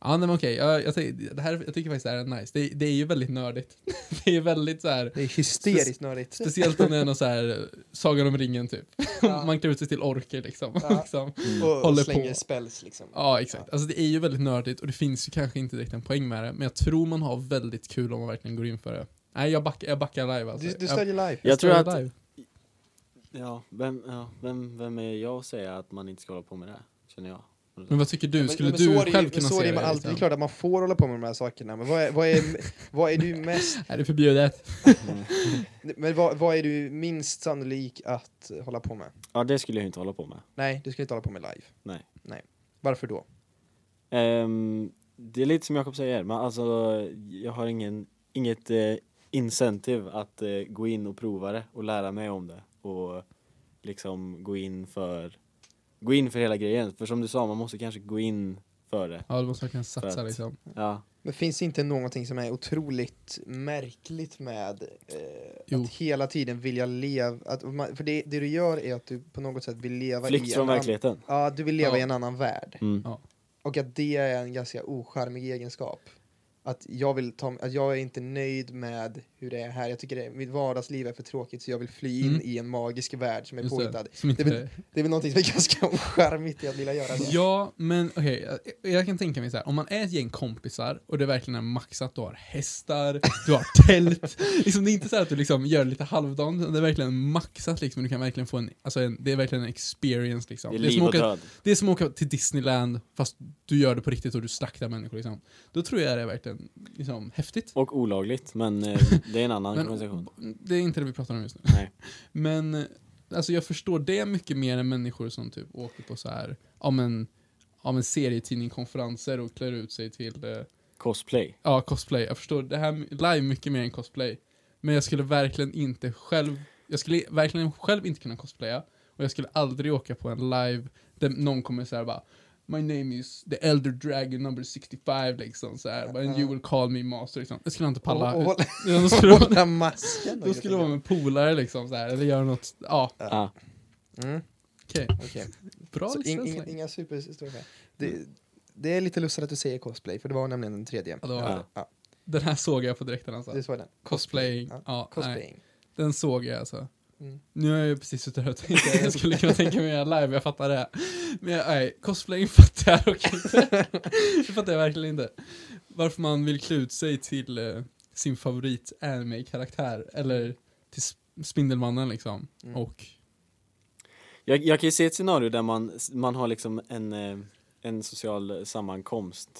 Speaker 2: Ja, nej, men okej. Jag, jag, tänk- det här, jag tycker faktiskt det här är nice. Det, det är ju väldigt nördigt. det är väldigt så här,
Speaker 1: Det är hysteriskt nördigt.
Speaker 2: speciellt om det är någon så här Sagan om ringen typ.
Speaker 1: Typ. Ja.
Speaker 2: Man klär ut sig till orker liksom.
Speaker 1: Ja.
Speaker 2: liksom.
Speaker 1: och, och
Speaker 2: Håller
Speaker 1: slänger
Speaker 2: på.
Speaker 1: spells liksom.
Speaker 2: Ja, exakt. Alltså det är ju väldigt nördigt och det finns ju kanske inte direkt en poäng med det, men jag tror man har väldigt kul om man verkligen går in för det. Nej, jag backar, jag backar live alltså.
Speaker 1: Du, du
Speaker 2: Jag-
Speaker 1: stödjer live.
Speaker 2: jag
Speaker 3: Jag tror
Speaker 2: stödjer
Speaker 3: att-
Speaker 2: live.
Speaker 3: Ja, vem, ja, vem, vem är jag att säga att man inte ska hålla på med det här, känner jag.
Speaker 2: Men vad tycker du?
Speaker 1: Men-
Speaker 2: Skulle
Speaker 1: men så är det
Speaker 2: du
Speaker 1: ju-
Speaker 2: själv
Speaker 1: men
Speaker 2: kunna
Speaker 1: så är
Speaker 2: se
Speaker 1: det, med allt. det är
Speaker 2: liksom?
Speaker 1: klart att man får hålla på med de här sakerna. Men vad är, vad är, vad är du mest...
Speaker 2: Är det förbjudet?
Speaker 1: Men vad, vad är du minst sannolik att hålla på med?
Speaker 3: Ja, det skulle jag inte hålla på med.
Speaker 1: Nej, du ska inte hålla på med live.
Speaker 3: Nej.
Speaker 1: Nej. Varför då?
Speaker 3: Ehm, det är lite som Jakob säger, men alltså jag har ingen, inget eh, incentive att eh, gå in och prova det och lära mig om det och liksom gå in för, gå in för hela grejen. För som du sa, man måste kanske gå in för det.
Speaker 2: Ja, då måste man kunna satsa
Speaker 3: att-
Speaker 2: liksom.
Speaker 3: Ja,
Speaker 1: Men finns det inte någonting som är otroligt märkligt med eh,
Speaker 2: Jo.
Speaker 1: att hela tiden vilja leva? Att man, för det, det du gör är att du på något sätt vill leva i
Speaker 3: flykt från
Speaker 1: en annan-
Speaker 3: verkligheten.
Speaker 1: Ja, du vill leva
Speaker 2: Ja.
Speaker 1: i en annan värld.
Speaker 3: Mm.
Speaker 1: Och att det är en ganska ocharmig egenskap. Att jag, vill ta, att jag är inte nöjd med hur det är här. Jag tycker det, mitt vardagsliv är för tråkigt så jag vill fly in
Speaker 2: Mm.
Speaker 1: i en magisk värld som är
Speaker 2: Just
Speaker 1: påhittad.
Speaker 2: det. Som inte
Speaker 1: Det är väl- Det är väl någonting som är ganska ocharmigt i att vilja göra
Speaker 3: Alltså.
Speaker 1: det.
Speaker 2: Ja, men okej. jag, jag kan tänka mig så här. Om man är ett gäng kompisar och det verkligen är maxat, du har hästar, du har tält. liksom, det är inte så här att du liksom gör lite halvdant, utan det är verkligen maxat liksom. Du kan verkligen få en, alltså en, det är verkligen en experience liksom.
Speaker 3: Det är
Speaker 2: är
Speaker 3: liv
Speaker 2: som
Speaker 3: och
Speaker 2: att åka,
Speaker 3: död.
Speaker 2: det är som att åka till Disneyland, fast du gör det på riktigt och du slaktar människor liksom. Då tror jag det är verkligen liksom häftigt.
Speaker 3: Och olagligt, men eh, det är en annan
Speaker 2: Men-
Speaker 3: konversation.
Speaker 2: Det är inte det vi pratar om just nu.
Speaker 3: Nej.
Speaker 2: Men eh, alltså jag förstår det mycket mer än människor som typ åker på så här, ja men, ja men serietidningkonferenser och klär ut sig till, eh,
Speaker 3: Cosplay.
Speaker 2: ja cosplay. Jag förstår det här my- live mycket mer än cosplay. Men jag skulle verkligen inte själv, jag skulle verkligen själv inte kunna cosplaya. Och jag skulle aldrig åka på en live där någon kommer så här bara My name is the elder dragon number 65 liksom så här. bara, And you will call me master liksom. Jag skulle inte palla.
Speaker 1: Och- och hålla-
Speaker 2: Ja, då skulle
Speaker 1: hålla masken.
Speaker 2: då skulle det vara med polare liksom så här, eller göra något, ja,
Speaker 3: Ja.
Speaker 1: Mm,
Speaker 2: okej.
Speaker 1: okej.
Speaker 2: Bra
Speaker 1: Så in,
Speaker 2: licens.
Speaker 1: in, inga superstora skäl. Det, det är lite lustigt att du säger cosplay, för det var nämligen den tredje.
Speaker 2: Ja, det var
Speaker 3: det.
Speaker 1: Ja,
Speaker 2: Den här såg jag på direkten alltså.
Speaker 1: du såg den.
Speaker 2: Cosplaying.
Speaker 1: Ja,
Speaker 2: Ja, nej.
Speaker 1: Cosplaying.
Speaker 2: Den såg jag alltså.
Speaker 1: Mm.
Speaker 2: Nu har jag ju precis suttit här och tänkt att jag skulle kunna tänka mig att göra live, jag fattar det. Men jag, nej, cosplaying fattar jag dock inte. det fattar jag verkligen inte. Varför man vill klä ut sig till eh, sin favorit anime-karaktär, eller till sp- Spindelmannen liksom.
Speaker 1: Mm.
Speaker 2: Och,
Speaker 3: Jag, jag kan ju se ett scenario där man, man har liksom en, eh, en social sammankomst,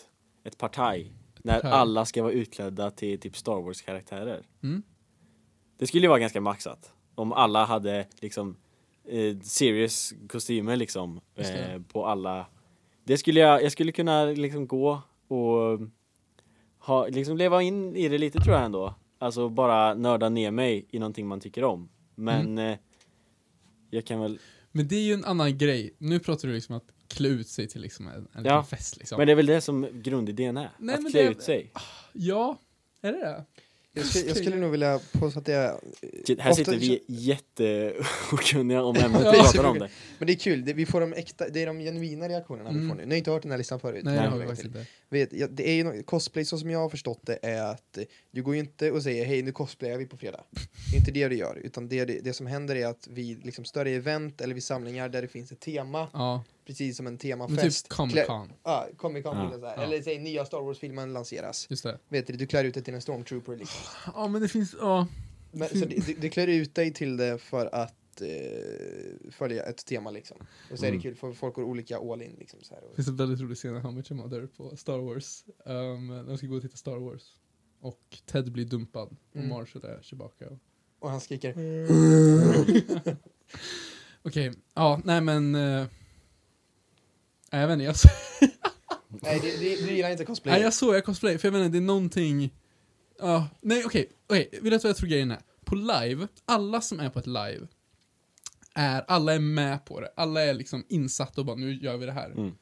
Speaker 3: ett partaj, när
Speaker 2: partaj.
Speaker 3: alla ska vara utklädda till typ Star Wars-karaktärer.
Speaker 2: mm,
Speaker 3: Det skulle ju vara ganska maxat om alla hade liksom eh, serious kostymer liksom
Speaker 2: Just det.
Speaker 3: eh, på alla. Det skulle jag, jag skulle kunna liksom gå och ha, liksom leva in i det lite tror jag ändå. Alltså bara nörda ner mig i någonting man tycker om. Men
Speaker 2: Mm.
Speaker 3: eh, jag kan väl
Speaker 2: men det är ju en annan grej. Nu pratar du liksom att klä ut sig till liksom en, en liten
Speaker 3: Ja,
Speaker 2: fest liksom.
Speaker 3: Men det är väl det som grundidén är?
Speaker 2: Nej, men
Speaker 3: att klä
Speaker 2: det-
Speaker 3: ut sig.
Speaker 2: Ja, är det det?
Speaker 1: Jag, skulle- jag skulle nog vilja påstå att det är...
Speaker 3: Shit, här
Speaker 1: ofta-
Speaker 3: sitter vi jätteokunniga om ämnet
Speaker 2: Ja.
Speaker 3: vi pratar om det.
Speaker 1: Men det är kul, det, vi får de äkta, det är de genuina reaktionerna
Speaker 2: Mm.
Speaker 1: vi får nu. Ni har inte hört den här listan förut.
Speaker 2: Nej,
Speaker 1: Det kommer
Speaker 2: det har vi
Speaker 1: jag
Speaker 2: faktiskt
Speaker 1: till.
Speaker 2: inte.
Speaker 1: Vet, ja, det är ju no- cosplay så som jag har förstått det är att eh, du går ju inte och säger hej nu cosplayar vi på fredag. Det är inte det du gör utan det, det, det som händer är att vid liksom, större event eller vid samlingar där det finns ett tema,
Speaker 2: Ja,
Speaker 1: precis som en
Speaker 2: men typ
Speaker 1: temafest.
Speaker 2: Comic
Speaker 1: klä-
Speaker 2: Con.
Speaker 1: Ja, Comic Con.
Speaker 3: Ja.
Speaker 1: eller så här.
Speaker 2: Ja.
Speaker 1: Eller säg nya Star Wars-filmen lanseras.
Speaker 2: Just det.
Speaker 1: Vet du, du klär ut dig till en stormtrooper liksom.
Speaker 2: Ja, men det finns, ja.
Speaker 1: Men, så du, du- du klär ut dig till det för att eh, följa ett tema liksom. Och så är det
Speaker 3: Mm.
Speaker 1: kul för folk går olika all in liksom. Så här.
Speaker 2: Det
Speaker 1: Och,
Speaker 2: finns en väldigt rolig scen i Hamilton var där på Star Wars. Um, när de ska gå och titta Star Wars. Och Ted blir dumpad. Och
Speaker 1: Mm.
Speaker 2: Marshall är Chewbacca.
Speaker 1: och han skriker
Speaker 2: Okej, ja, nej men. eh, nej, jag vet inte, jag, så,
Speaker 1: Nej, du, du, du gillar inte cosplay.
Speaker 2: nej, jag såg jag cosplay, för jag vet inte, det är någonting. Ja, nej okej, okej, vill du veta vad jag tror grejen är? På live, alla som är på ett live är, alla är med på det. Alla är liksom insatta och bara nu gör vi det här.
Speaker 3: Mm.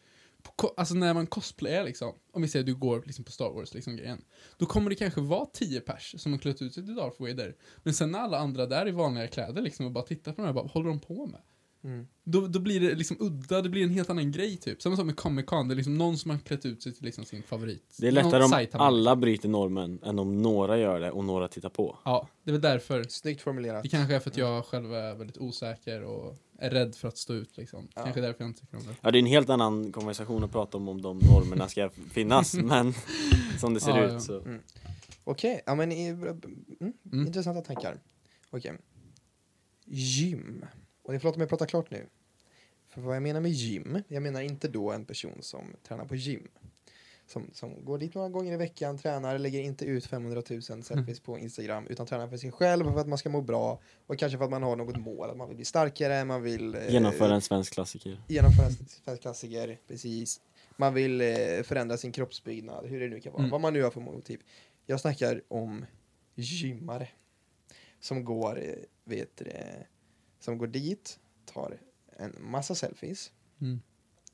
Speaker 2: på ko- alltså när man cosplayar liksom, om vi säger att du går liksom på Star Wars liksom grejen, då kommer det kanske vara 10 pers som har klätt ut sig till Darth Vader. Men sen när alla andra där i vanliga kläder liksom och bara tittar på de här, bara, vad håller de på med?
Speaker 1: Mm.
Speaker 2: Då, då blir det liksom udda, det blir en helt annan grej typ. Samma sak med Comic Con, det är liksom någon som har klätt ut sig till liksom sin favorit.
Speaker 3: Det är
Speaker 2: Någon
Speaker 3: lättare om
Speaker 2: Saitama.
Speaker 3: alla bryter normen än om några gör det och några tittar på.
Speaker 2: Ja, det är väl därför.
Speaker 1: Snyggt formulerat.
Speaker 2: Det kanske är för att jag själv är väldigt osäker och är rädd för att stå ut liksom.
Speaker 1: Ja.
Speaker 2: Kanske därför jag inte tycker om det.
Speaker 3: Ja, det är en helt annan konversation att prata om om de normerna ska finnas, men som det ser
Speaker 2: Ja,
Speaker 3: ut
Speaker 2: ja.
Speaker 3: så.
Speaker 1: Okej, ja men i- mm,
Speaker 2: Mm.
Speaker 1: intressanta tankar. Okej. Gym. Och ni får låta mig prata klart nu. För vad jag menar med gym, jag menar inte då en person som tränar på gym. Som, som går dit några gånger i veckan, tränar, lägger inte ut 500 000 selfies på Instagram utan tränar för sig själv och för att man ska må bra och kanske för att man har något mål, att man vill bli starkare, man vill eh,
Speaker 3: Genomföra en svensk klassiker.
Speaker 1: genomföra en svensk klassiker, precis. Man vill eh, förändra sin kroppsbyggnad, hur det nu kan vara,
Speaker 2: Mm.
Speaker 1: vad man nu har för motiv. Jag snackar om gymmare som går, eh, vet du det, som går dit, tar en massa selfies,
Speaker 2: Mm.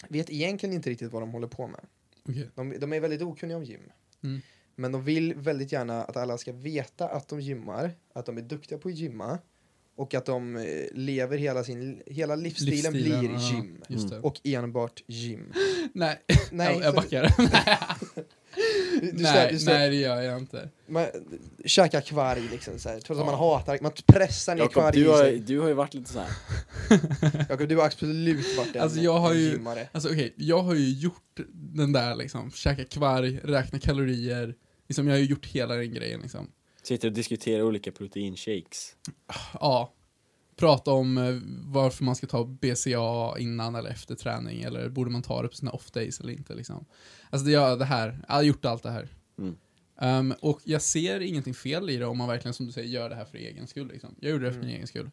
Speaker 1: vet egentligen inte riktigt vad de håller på med.
Speaker 2: Okej.
Speaker 1: De, de är väldigt okunniga om gym.
Speaker 2: Mm.
Speaker 1: Men de vill väldigt gärna att alla ska veta att de gymmar, att de är duktiga på att gymma och att de eh, lever hela sin, hela livsstilen, blir
Speaker 2: ja,
Speaker 1: gym.
Speaker 2: Just det.
Speaker 1: Och enbart gym.
Speaker 2: nej,
Speaker 1: Nej,
Speaker 2: jag, jag
Speaker 1: så-
Speaker 2: backar.
Speaker 1: Du, du
Speaker 2: nej,
Speaker 1: slä- du slä-
Speaker 2: nej, det gör jag inte.
Speaker 1: Man käkar kvarg liksom så här, trots att
Speaker 2: Ja.
Speaker 1: man hatar, man pressar ner
Speaker 3: Jakob,
Speaker 1: kvarg
Speaker 3: du
Speaker 1: i
Speaker 3: har,
Speaker 1: sig.
Speaker 3: du har ju varit lite så här.
Speaker 1: Jakob, du har absolut varit en,
Speaker 2: Alltså, jag har
Speaker 1: en
Speaker 2: ju-
Speaker 1: gymmare.
Speaker 2: Alltså okej, jag har ju gjort den där liksom, käka kvarg, räkna kalorier. Liksom, jag har ju gjort hela den grejen liksom.
Speaker 3: Sitter och diskuterar olika proteinshakes.
Speaker 2: Ja. Prata om eh, varför man ska ta BCA innan eller efter träning eller borde man ta det på sina off-days eller inte liksom. Alltså det, jag, det här, jag har gjort allt det här.
Speaker 3: Mm.
Speaker 2: Ehm, och jag ser ingenting fel i det om man verkligen som du säger gör det här för egen skull. Liksom. Jag gjorde det för
Speaker 1: Mm.
Speaker 2: min egen skull.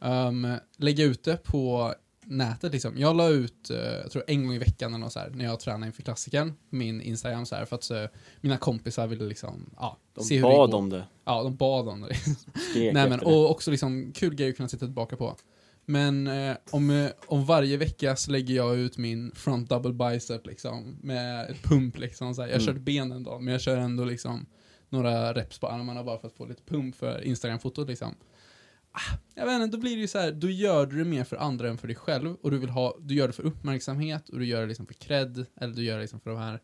Speaker 2: Ehm, lägga ut det på nätet liksom. Jag la ut, eh, jag tror en gång i veckan eller något så här, när jag tränade inför klassiken, min Instagram så här, för att eh, mina kompisar ville liksom, ja,
Speaker 3: De
Speaker 2: det
Speaker 3: bad
Speaker 2: går.
Speaker 3: om det.
Speaker 2: Ja, de bad om det.
Speaker 3: Skrek
Speaker 2: Nej, men,
Speaker 3: efter det.
Speaker 2: och också liksom kul grej att kunna titta tillbaka på. Men eh, om, eh, om varje vecka så lägger jag ut min front double bicep liksom med ett pump liksom. Så här. Jag har
Speaker 3: Mm.
Speaker 2: kört ben en dag, men jag kör ändå liksom några reps på armarna bara för att få lite pump för Instagram-fotot liksom. Ah, jag vet inte, då blir det ju så här, då gör du det mer för andra än för dig själv och du vill ha, du gör det för uppmärksamhet och du gör det liksom för cred eller du gör det liksom för de här.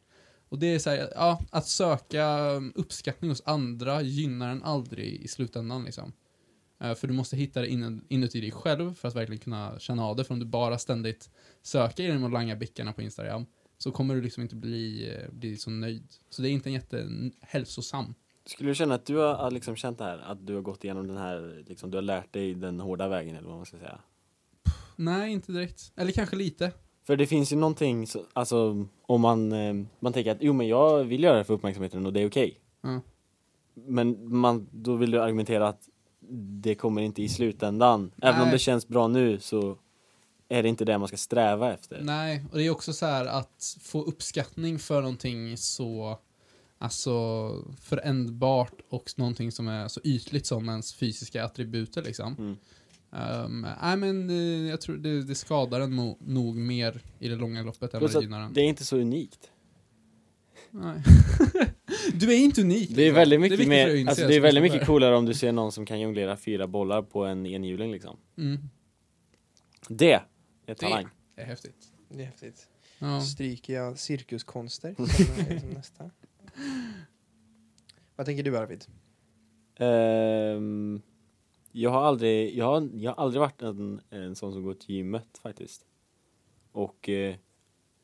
Speaker 2: Och det är så här, ja, att söka um, uppskattning hos andra gynnar en aldrig i slutändan liksom. Eh, För du måste hitta det inom- inuti dig själv för att verkligen kunna känna av det. För om du bara ständigt söker genom att langa bickarna på Instagram så kommer du liksom inte bli, eh, bli så nöjd. Så det är inte en jättehälsosam.
Speaker 3: Skulle du känna att du har har liksom känt det här, att du har gått igenom den här, liksom, du har lärt dig den hårda vägen eller vad man ska säga?
Speaker 2: Nej, inte direkt. Eller kanske lite.
Speaker 3: För det finns ju någonting, så, alltså om man, eh, man tänker att jo men jag vill göra det för uppmärksamheten och det är okej.
Speaker 2: Ja.
Speaker 3: Men man, då vill du argumentera att det kommer inte i slutändan. Även om
Speaker 2: Nej.
Speaker 3: det känns bra nu så är det inte det man ska sträva efter.
Speaker 2: Nej, och det är också så här att få uppskattning för någonting så alltså förändbart och någonting som är så ytligt som ens fysiska attributer liksom.
Speaker 3: Mm.
Speaker 2: Ehm, nej men eh, jag tror det, det skadar en mo- nog mer i det långa loppet än vad
Speaker 3: Plus
Speaker 2: det
Speaker 3: att
Speaker 2: gynnar en.
Speaker 3: Det är inte så unikt.
Speaker 2: Nej. du är inte unik.
Speaker 3: Det är väldigt mycket,
Speaker 2: viktigt för att
Speaker 3: mer,
Speaker 2: inse,
Speaker 3: alltså, det är
Speaker 2: som jag sa
Speaker 3: väldigt mycket
Speaker 2: där.
Speaker 3: coolare om du ser någon som kan jonglera fyra bollar på en enhjuling liksom.
Speaker 2: Mm.
Speaker 3: Det är talang.
Speaker 2: Det är häftigt.
Speaker 1: Det är häftigt.
Speaker 2: Ja.
Speaker 1: Stryker jag cirkuskonster som, är- som nästa. Vad tänker du Arvid?
Speaker 3: Ehm, jag har aldrig, jag har, jag har aldrig varit en, en sån som går till gymmet faktiskt. Och eh,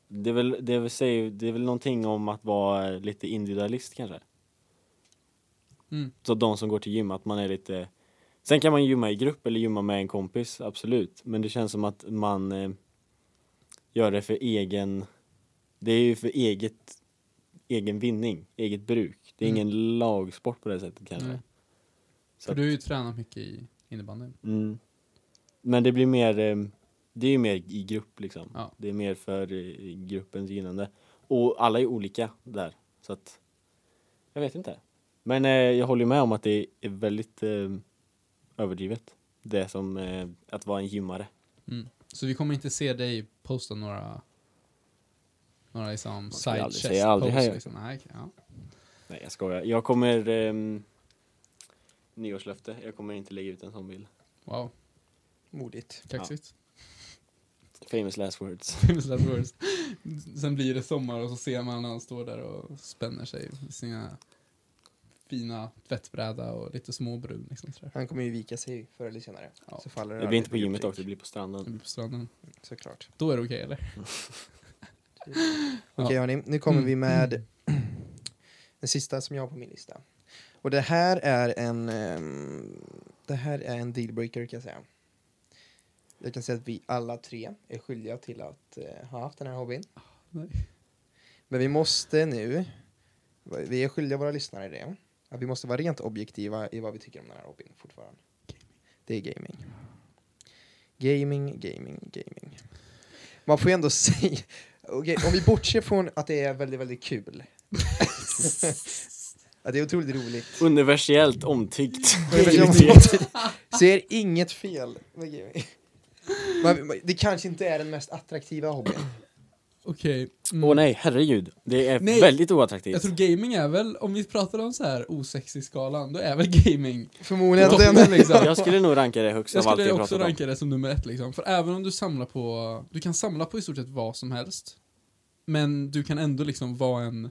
Speaker 3: det, är väl, det, är väl, säg- det är väl någonting om att vara lite individualist kanske.
Speaker 2: Mm.
Speaker 3: Så de som går till gym, att man är lite Sen kan man gymma i grupp eller gymma med en kompis, absolut. Men det känns som att man eh, gör det för egen Det är ju för eget egen vinning, eget bruk. Det är
Speaker 2: Mm.
Speaker 3: ingen lagsport på det sättet kanske.
Speaker 2: Nej.
Speaker 3: Så
Speaker 2: Mm. För
Speaker 3: att-
Speaker 2: du har ju tränat mycket i innebandy.
Speaker 3: Mm. Men det blir mer, eh, det är ju mer i grupp liksom.
Speaker 2: Ja.
Speaker 3: Det är mer för eh, gruppens gynnande. Och alla är olika där. Så att, jag vet inte. Men eh, jag håller med om att det är väldigt eh, överdrivet. Det som eh, att vara en gymmare.
Speaker 2: Mm. Så vi kommer inte se dig posta några några liksom
Speaker 3: skulle
Speaker 2: side
Speaker 3: aldrig
Speaker 2: chest
Speaker 3: säga aldrig
Speaker 2: pose,
Speaker 3: här.
Speaker 2: liksom. Nej, okej, ja.
Speaker 3: Nej jag skojar. Jag kommer, eh, nyårslöfte, jag kommer inte lägga ut en sån bild.
Speaker 2: Wow,
Speaker 1: Modigt.
Speaker 2: kaxigt.
Speaker 3: Famous last words.
Speaker 2: Famous last words. Sen blir det sommar och så ser man när han står där och spänner sig i sina fina tvättbräda och lite småbrun. Liksom, sådär.
Speaker 1: Han kommer ju vika sig förr eller senare.
Speaker 2: Ja.
Speaker 1: Så faller
Speaker 3: Det blir inte på
Speaker 1: aldrig
Speaker 3: gymmet
Speaker 1: butik.
Speaker 3: dock, det blir på stranden.
Speaker 2: På stranden.
Speaker 1: Såklart.
Speaker 2: Då är det okej eller?
Speaker 1: Okej hörni, nu kommer vi
Speaker 2: Mm.
Speaker 1: med den sista som jag har på min lista. Och det här är en ehm, det här är en dealbreaker kan jag säga. Jag kan säga att vi alla tre är skyldiga till att eh, ha haft den här hobbyn.
Speaker 2: nej.
Speaker 1: Men vi måste nu, vi är skyldiga våra lyssnare det, att vi måste vara rent objektiva i vad vi tycker om den här hobbyn fortfarande. Det är gaming. Gaming, gaming, gaming. Man får ju ändå säga, okej, om vi bortser från att det är väldigt, väldigt kul. att det är otroligt roligt.
Speaker 3: Universellt omtyckt.
Speaker 1: Ser inget fel med gaming. Men, men det kanske inte är den mest attraktiva hobbyn.
Speaker 2: Okej. mm.
Speaker 3: Åh nej, herregud. Det är
Speaker 2: Nej.
Speaker 3: väldigt
Speaker 2: Jag
Speaker 3: oattraktivt.
Speaker 2: tror gaming är väl, om vi pratar om så här osexig-skalan, då är väl gaming
Speaker 1: Förmodligen
Speaker 2: Toppen,
Speaker 1: den.
Speaker 2: liksom.
Speaker 3: Jag skulle nog ranka det högst
Speaker 2: Jag
Speaker 3: av allt
Speaker 2: skulle
Speaker 3: jag
Speaker 2: också
Speaker 3: pratat om.
Speaker 2: ranka det som nummer ett liksom. För även om du samlar på, du kan samla på i stort sett vad som helst. Men du kan ändå liksom vara en,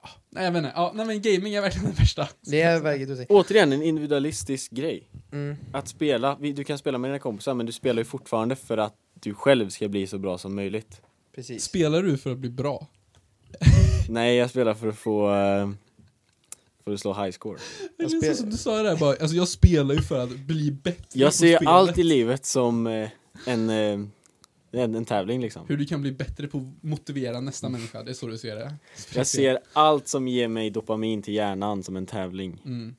Speaker 2: ah, nej jag vet inte, ja, nej men gaming är verkligen den värsta.
Speaker 1: Det är verkligen otäckt.
Speaker 3: Återigen en individualistisk grej.
Speaker 1: Mm.
Speaker 3: Att spela, vi- du kan spela med dina kompisar men du spelar ju fortfarande för att du själv ska bli så bra som möjligt.
Speaker 1: Precis.
Speaker 2: Spelar du för att bli bra?
Speaker 3: Nej, jag spelar för att få... eh, För att slå high score.
Speaker 2: Det är
Speaker 1: Jag
Speaker 2: så
Speaker 1: spel-
Speaker 2: som du sa det där bara, alltså jag spelar ju för att bli bättre på
Speaker 3: Jag ser
Speaker 2: spelet.
Speaker 3: allt i livet som eh, en, eh, en, en tävling liksom.
Speaker 2: Hur du kan bli bättre på att motivera nästa människa, det är så du ser det.
Speaker 3: Jag ser allt som ger mig dopamin till hjärnan som en tävling.
Speaker 2: Mm,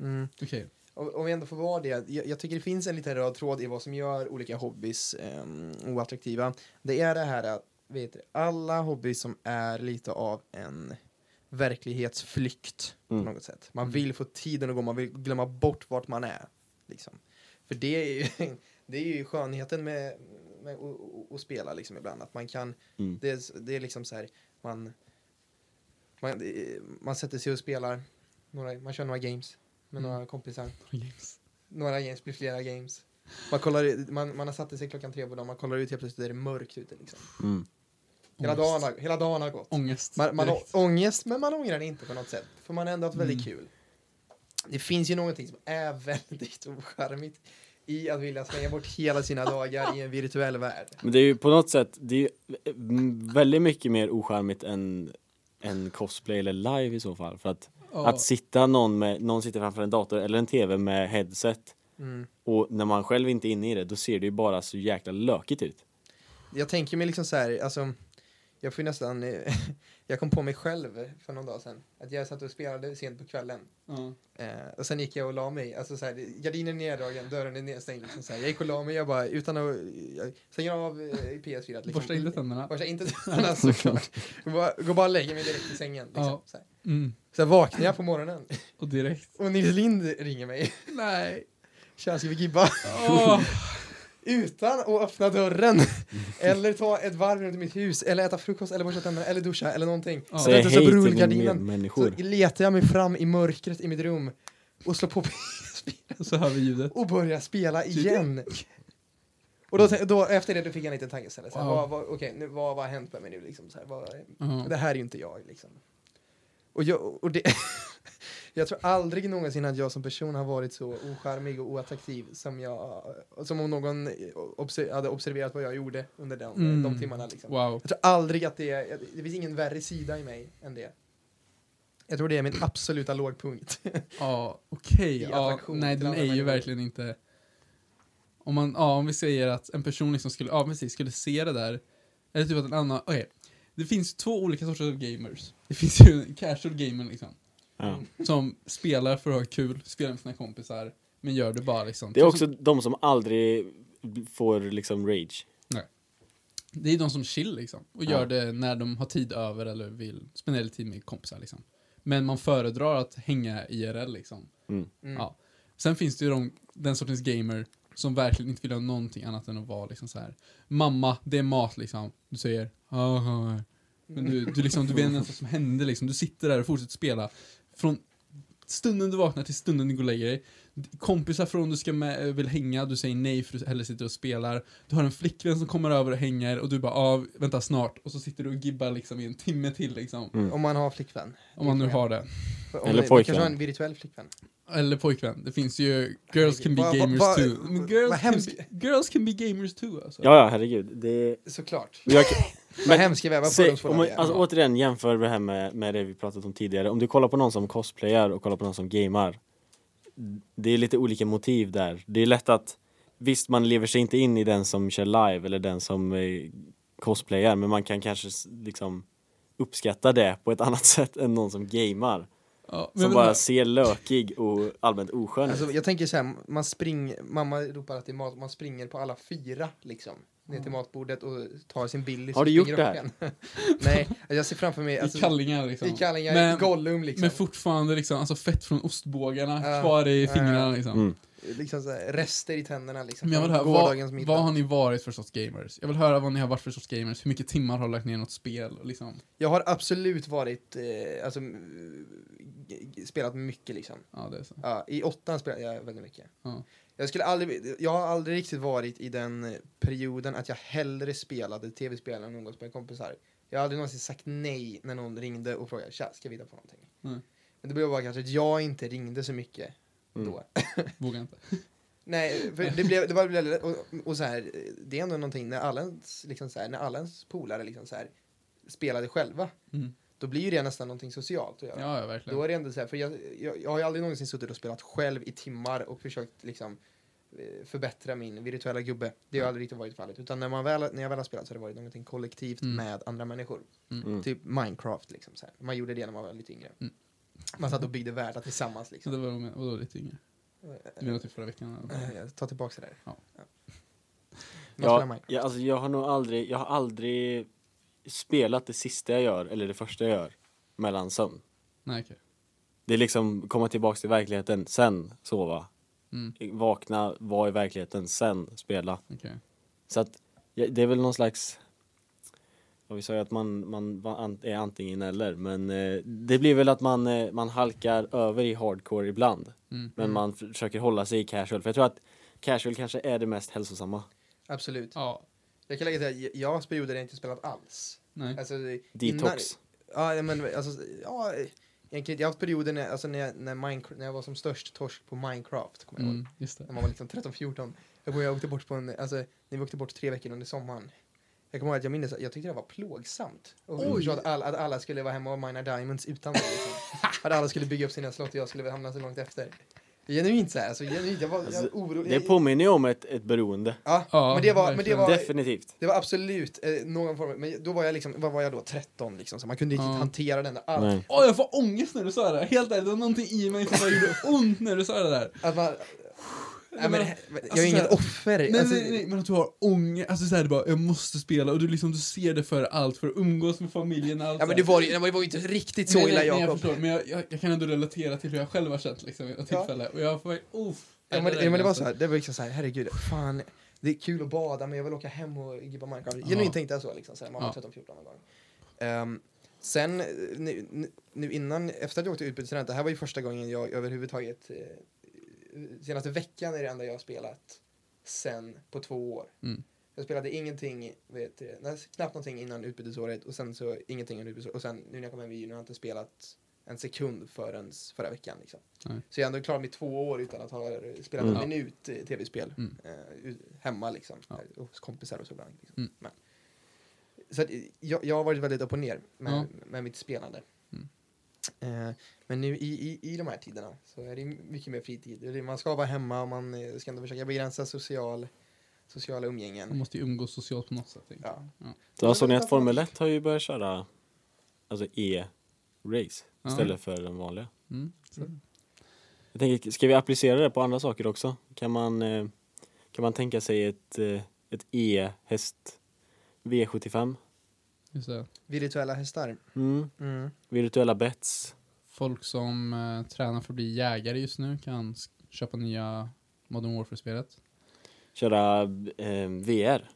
Speaker 1: Mm.
Speaker 2: okej.
Speaker 1: Om, om vi ändå får vara det, jag, jag tycker det finns en liten röd tråd i vad som gör olika hobbys um, oattraktiva. Det är det här att vet, du, alla hobbys som är lite av en verklighetsflykt
Speaker 3: Mm.
Speaker 1: på något sätt. Man vill få tiden att gå, man vill glömma bort vart man är. Liksom. För det är ju, det är ju skönheten med, med att- att- att spela liksom ibland, att man kan
Speaker 3: Mm.
Speaker 1: det, är s- det är liksom så här, man, man, det är- man sätter sig och spelar, några, man kör några games med
Speaker 2: Mm.
Speaker 1: några kompisar.
Speaker 2: Games.
Speaker 1: Några games blir flera games. Man, kollar, man, man har satt sig klockan tre på dagen, man kollar ut helt plötsligt är det mörkt ute. Liksom.
Speaker 3: Mm.
Speaker 1: Hela, dagen
Speaker 2: Ångest.
Speaker 1: har, hela dagen har gått.
Speaker 2: Ångest.
Speaker 1: Man, man har
Speaker 2: direkt. Mm.
Speaker 1: ångest, men man ångrar det inte på något sätt. För man har ändå haft väldigt kul. Det finns ju någonting som är väldigt ocharmigt i att vilja slänga bort hela sina dagar i en virtuell värld.
Speaker 3: Men det är ju på något sätt, det är ju mm, väldigt mycket mer ocharmigt än, än cosplay eller live i så fall. För att,
Speaker 2: Ja.
Speaker 3: att sitta någon med, någon sitter framför en dator eller en tv med headset
Speaker 1: Mm.
Speaker 3: och när man själv inte är inne i det, då ser det ju bara så jäkla lökigt ut.
Speaker 1: Jag tänker mig liksom så här, alltså, jag får ju nästan, eh, jag kom på mig själv för någon dag sedan, att jag satt och spelade sent på kvällen.
Speaker 2: Ja.
Speaker 1: Eh, och sen gick jag och la mig, alltså så här, gardinen är neddragen, dörren är nedstängd. Liksom så här. Jag gick och la mig, jag bara, utan att, jag stänger av eh, PS4. Liksom.
Speaker 2: Borsta inte tänderna.
Speaker 1: Borsta inte tänderna såklart. Jag bara- Går bara och lägger mig direkt i sängen. Liksom,
Speaker 2: Ja.
Speaker 1: så här.
Speaker 2: Mm,
Speaker 1: Sen vaknar jag på morgonen
Speaker 2: och direkt.
Speaker 1: och Nils Lind ringer mig.
Speaker 2: Nej.
Speaker 1: Tja, ska vi gibba?
Speaker 2: Åh.
Speaker 1: Utan att öppna dörren. eller ta ett varv runt mitt hus, eller äta frukost, eller borsta tänderna, eller duscha, eller någonting.
Speaker 2: Ja.
Speaker 1: Så
Speaker 3: Säg
Speaker 1: jag
Speaker 3: hej
Speaker 1: tar upp
Speaker 3: till dina
Speaker 1: rullgardinen. Så
Speaker 3: medmänniskor.
Speaker 1: letar jag mig fram i mörkret i mitt rum och slår på PS4.
Speaker 2: Så hör vi ljudet.
Speaker 1: och börja spela igen. Och då, då, efter det då fick jag en liten tankeställare. Wow.
Speaker 2: Wow.
Speaker 1: Vad, vad, okej, nu, vad, vad har hänt med mig nu? Liksom, så här, vad,
Speaker 2: Ja.
Speaker 1: Det här är ju inte jag. Liksom. Och jag, och det, jag tror aldrig någonsin att jag som person har varit så ocharmig och oattraktiv som, jag, som om någon obser, hade observerat vad jag gjorde under de,
Speaker 2: Mm.
Speaker 1: de timmarna. Liksom.
Speaker 2: Wow.
Speaker 1: Jag tror aldrig att det är, det finns ingen värre sida i mig än det. Jag tror det är min absoluta lågpunkt.
Speaker 2: Ja, okej.
Speaker 1: I
Speaker 2: Ja,
Speaker 1: attraktion
Speaker 2: nej,
Speaker 1: till
Speaker 2: den
Speaker 1: andra
Speaker 2: är ju
Speaker 1: människor.
Speaker 2: verkligen inte... Om, man, ja, om vi säger att en person liksom skulle, ja, precis, skulle se det där, eller typ att en annan... Okej, det finns två olika sorters av gamers. Det finns ju en casual gamer liksom,
Speaker 3: Ja.
Speaker 2: som spelar för att ha kul, spelar med sina kompisar, men gör det bara liksom.
Speaker 3: Det är
Speaker 2: Typ
Speaker 3: också
Speaker 2: som-
Speaker 3: de som aldrig får liksom rage.
Speaker 2: det är de som chill liksom, och
Speaker 3: Ja.
Speaker 2: gör det när de har tid över eller vill spendera lite tid med kompisar liksom. Men man föredrar att hänga IRL liksom.
Speaker 3: Mm.
Speaker 1: Mm.
Speaker 2: Ja. Sen finns det ju de, den sortens gamer som verkligen inte vill ha någonting annat än att vara liksom så här. Mamma, det är mat liksom. Du säger "Ja, ja, ja." Men du, du, liksom, du vet inte ens vad som hände liksom. Du sitter där och fortsätter spela. Från stunden du vaknar till stunden du går och lägger dig. kompisar från du ska med, vill hänga, du säger nej för du hellre sitter och spelar. Du har en flickvän som kommer över och hänger och du bara ah, vänta snart och så sitter du och gibbar liksom i en timme till liksom.
Speaker 1: Om man har flickvän.
Speaker 2: Om man nu har det.
Speaker 1: Om
Speaker 3: Eller
Speaker 1: du
Speaker 3: pojkvän.
Speaker 1: kanske har en virtuell flickvän.
Speaker 2: Eller pojkvän. Det finns ju Girls can be
Speaker 1: Vad- vad-
Speaker 2: gamers
Speaker 1: vad-
Speaker 2: too. Men girls,
Speaker 1: vad
Speaker 2: can
Speaker 1: hemskt.
Speaker 2: be, girls can be gamers too alltså.
Speaker 3: Ja, ja, herregud. Det...
Speaker 1: Såklart.
Speaker 3: Jag...
Speaker 1: Vad hemska vi är, vad
Speaker 3: Se,
Speaker 1: fördomsfulla
Speaker 3: om man,
Speaker 1: vi
Speaker 3: alltså,
Speaker 1: är.
Speaker 3: återigen, jämför det här med, med det vi pratat om tidigare. Om du kollar på någon som cosplayar och kollar på någon som gamar. Det är lite olika motiv där. Det är lätt att, visst man lever sig inte in i den som kör live eller den som eh, cosplayar, men man kan kanske s- liksom uppskatta det på ett annat sätt än någon som gamar.
Speaker 2: Ja, men
Speaker 3: Som
Speaker 2: jag
Speaker 3: bara
Speaker 2: menar-
Speaker 3: ser lökig och allmänt oskön ut.
Speaker 1: Alltså, jag tänker så här, man springer, mamma ropar att det är mat, man springer på alla fyra liksom. Ner till matbordet och tar sin Billy.
Speaker 3: Har
Speaker 1: så
Speaker 3: du gjort
Speaker 1: springer
Speaker 3: det
Speaker 1: upp igen. Nej, alltså, jag ser framför mig. Alltså,
Speaker 2: I kallingar liksom.
Speaker 1: I kallingar,
Speaker 2: Men-
Speaker 1: i Gollum liksom.
Speaker 2: Men fortfarande liksom, alltså fett från ostbågarna
Speaker 1: Ja,
Speaker 2: kvar i
Speaker 1: ja,
Speaker 2: fingrarna
Speaker 1: ja.
Speaker 2: liksom.
Speaker 3: Mm.
Speaker 1: liksom så här, rester i tänderna liksom.
Speaker 2: Men jag vill höra,
Speaker 1: från gårdagens
Speaker 2: vad,
Speaker 1: middag.
Speaker 2: vad har ni varit för sorts gamers? Jag vill höra vad ni har varit för sorts gamers, hur mycket timmar har lagt ner i något spel och liksom.
Speaker 1: Jag har absolut varit, eh, alltså, mm, g- g- spelat mycket liksom.
Speaker 2: Ja, det är så.
Speaker 1: Ja, I åttan spelade jag väldigt mycket.
Speaker 2: Ja.
Speaker 1: Jag, skulle aldrig, jag har aldrig riktigt varit i den perioden att jag hellre spelade tv-spel än umgås med kompisar. Jag har aldrig någonsin sagt nej när någon ringde och frågade tja, ska vi hitta på någonting?
Speaker 2: Nej.
Speaker 1: Men det blev bara kanske att jag inte ringde så mycket
Speaker 3: Mm.
Speaker 1: då.
Speaker 2: Vågar inte.
Speaker 1: Nej, för det blev, det var, och, och så här, det är ändå någonting när alla ens, liksom så här, när alla ens polare liksom så här, spelade själva,
Speaker 2: Mm.
Speaker 1: då blir ju det nästan någonting socialt att göra.
Speaker 2: Ja, ja, verkligen.
Speaker 1: Då är det ändå så här, för jag, jag, jag har ju aldrig någonsin suttit och spelat själv i timmar och försökt liksom eh, förbättra min virtuella gubbe. Det har aldrig riktigt varit fallet. Utan när, man väl, när jag väl har spelat så har det varit någonting kollektivt
Speaker 2: Mm.
Speaker 1: med andra människor.
Speaker 2: Mm.
Speaker 3: Mm.
Speaker 1: Typ Minecraft liksom. Så här. Man gjorde det när man var lite yngre.
Speaker 2: Mm.
Speaker 1: Man satt och byggde världar tillsammans
Speaker 2: Så
Speaker 1: liksom.
Speaker 2: det var de- vadå, lite yngre? Du menar typ förra veckan? eller?
Speaker 1: Eh, Jag tar tillbaka det där.
Speaker 2: Ja.
Speaker 1: Man spelar
Speaker 3: Ja,
Speaker 1: Minecraft.
Speaker 3: jag, alltså, jag har nog aldrig, jag har aldrig spelat det sista jag gör eller det första jag gör mellan sömn.
Speaker 2: Nej, okej.
Speaker 3: Det är liksom komma tillbaks till verkligheten, sen sova.
Speaker 2: Mm,
Speaker 3: Vakna, vara i verkligheten, sen spela.
Speaker 2: okej.
Speaker 3: Så att ja, det är väl någon slags... Och vi sa ju att man, man va- an- är antingen eller, men eh, det blir väl att man, eh, man halkar över i hardcore ibland.
Speaker 2: Mm.
Speaker 3: Men man f- försöker hålla sig i casual, för jag tror att casual kanske är det mest hälsosamma.
Speaker 1: Absolut.
Speaker 2: Ja,
Speaker 1: Jag kan lägga till att jag- jag har perioder där jag inte spelat alls.
Speaker 2: nej.
Speaker 1: Alltså, innan-
Speaker 3: Detox.
Speaker 1: Ja, men alltså, ja, egentligen, jag har haft perioder när, alltså, när, jag, när, Minecraft, när jag var som störst torsk på Minecraft, kommer jag ihåg.
Speaker 2: Mm, just
Speaker 1: När
Speaker 2: det.
Speaker 1: man var liksom 13-14. Jag kommer ihåg jag åkte bort på en, alltså, när vi åkte bort tre veckor under sommaren. Jag kommer ihåg att jag minns, att jag tyckte det var plågsamt. Och
Speaker 2: Oj.
Speaker 1: jag att, all, att alla skulle vara hemma och mina diamonds utan mig. Liksom. att alla skulle bygga upp sina slott och jag skulle hamna så långt efter. Genuint så här, alltså genuint, jag var, jag
Speaker 3: Alltså,
Speaker 1: var orolig.
Speaker 3: Det påminner ju om ett, ett beroende.
Speaker 1: ja,
Speaker 2: Ja,
Speaker 1: men det var, men det
Speaker 2: verkligen.
Speaker 1: var,
Speaker 3: Definitivt.
Speaker 1: det var absolut eh, någon form, men då var jag liksom, vad var jag då, 13 liksom, så man kunde inte
Speaker 2: Ja.
Speaker 1: riktigt hantera den där, allt
Speaker 3: Nej.
Speaker 2: Åh, jag får ångest när du sa det där. Helt ärligt, det var någonting i mig som bara gjorde ont när du sa det där.
Speaker 1: Att man... Nej, men, jag
Speaker 2: alltså,
Speaker 1: är inget
Speaker 2: så
Speaker 1: offer.
Speaker 2: Nej,
Speaker 1: alltså,
Speaker 2: nej, nej, men att du har ångest, alltså såhär, bara jag måste spela och du liksom, du ser det för allt, för att umgås med familjen och allt
Speaker 1: Ja,
Speaker 2: så
Speaker 1: men
Speaker 2: här.
Speaker 1: det var ju, det var ju inte riktigt så
Speaker 2: nej,
Speaker 1: illa,
Speaker 2: nej, nej, jag
Speaker 1: Jakob.
Speaker 2: förstår, men jag, jag, jag kan ändå relatera till hur jag själv har känt liksom vid något
Speaker 1: Ja.
Speaker 2: tillfälle och jag får, uff.
Speaker 1: Ja, men, ja, men det var så här, det var liksom så här, herregud, fan, det är kul att bada men jag vill åka hem och gibba Minecraft.
Speaker 2: Ja.
Speaker 1: Genuint tänkte jag så liksom, så här, man var
Speaker 2: Ja.
Speaker 1: 13-14 någon gång. Ehm, sen, eh, nu, nu- nu innan, efter att jag åkte utbytesstudent, det här var ju första gången jag överhuvudtaget, eh, senaste veckan är det enda jag har spelat sen på två år.
Speaker 2: Mm.
Speaker 1: Jag spelade ingenting, vet, du, nej, knappt någonting innan utbytesåret och sen så ingenting under utbytesåret. Och sen nu när jag kom hem i juni har jag inte spelat en sekund förrän förra veckan. Liksom.
Speaker 2: Nej.
Speaker 1: Så jag är ändå klar med två år utan att ha spelat
Speaker 3: Mm.
Speaker 1: en minut eh, tv-spel
Speaker 2: Mm.
Speaker 1: eh, ut- hemma liksom.
Speaker 2: Ja.
Speaker 1: eh, Hos kompisar och så ibland. Liksom.
Speaker 2: Mm.
Speaker 1: Men. Så att, eh, jag, jag har varit väldigt upp och ner med,
Speaker 2: Ja.
Speaker 1: med mitt spelande.
Speaker 2: Mm.
Speaker 1: Eh, men nu i, i, i de här tiderna så är det mycket mer fritid. Det är- Man ska vara hemma och man eh, ska ändå försöka begränsa social, sociala umgängen.
Speaker 2: Man måste ju umgås socialt på något sätt. tänker jag.
Speaker 1: Ja.
Speaker 3: Då såg ni att Formel 1 har ju börjat köra alltså e-race
Speaker 2: Ja.
Speaker 3: istället för den vanliga.
Speaker 2: Mm. Så.
Speaker 3: Jag tänker, ska vi applicera det på andra saker också? Kan man, eh, kan man tänka sig ett, eh, ett e-häst V75?
Speaker 2: Just det.
Speaker 1: Virtuella hästar.
Speaker 3: Mm.
Speaker 1: Mm.
Speaker 3: Virtuella bets?
Speaker 2: Folk som eh, tränar för att bli jägare just nu kan s- köpa nya Modern Warfare-spelet.
Speaker 3: Köra eh, VR?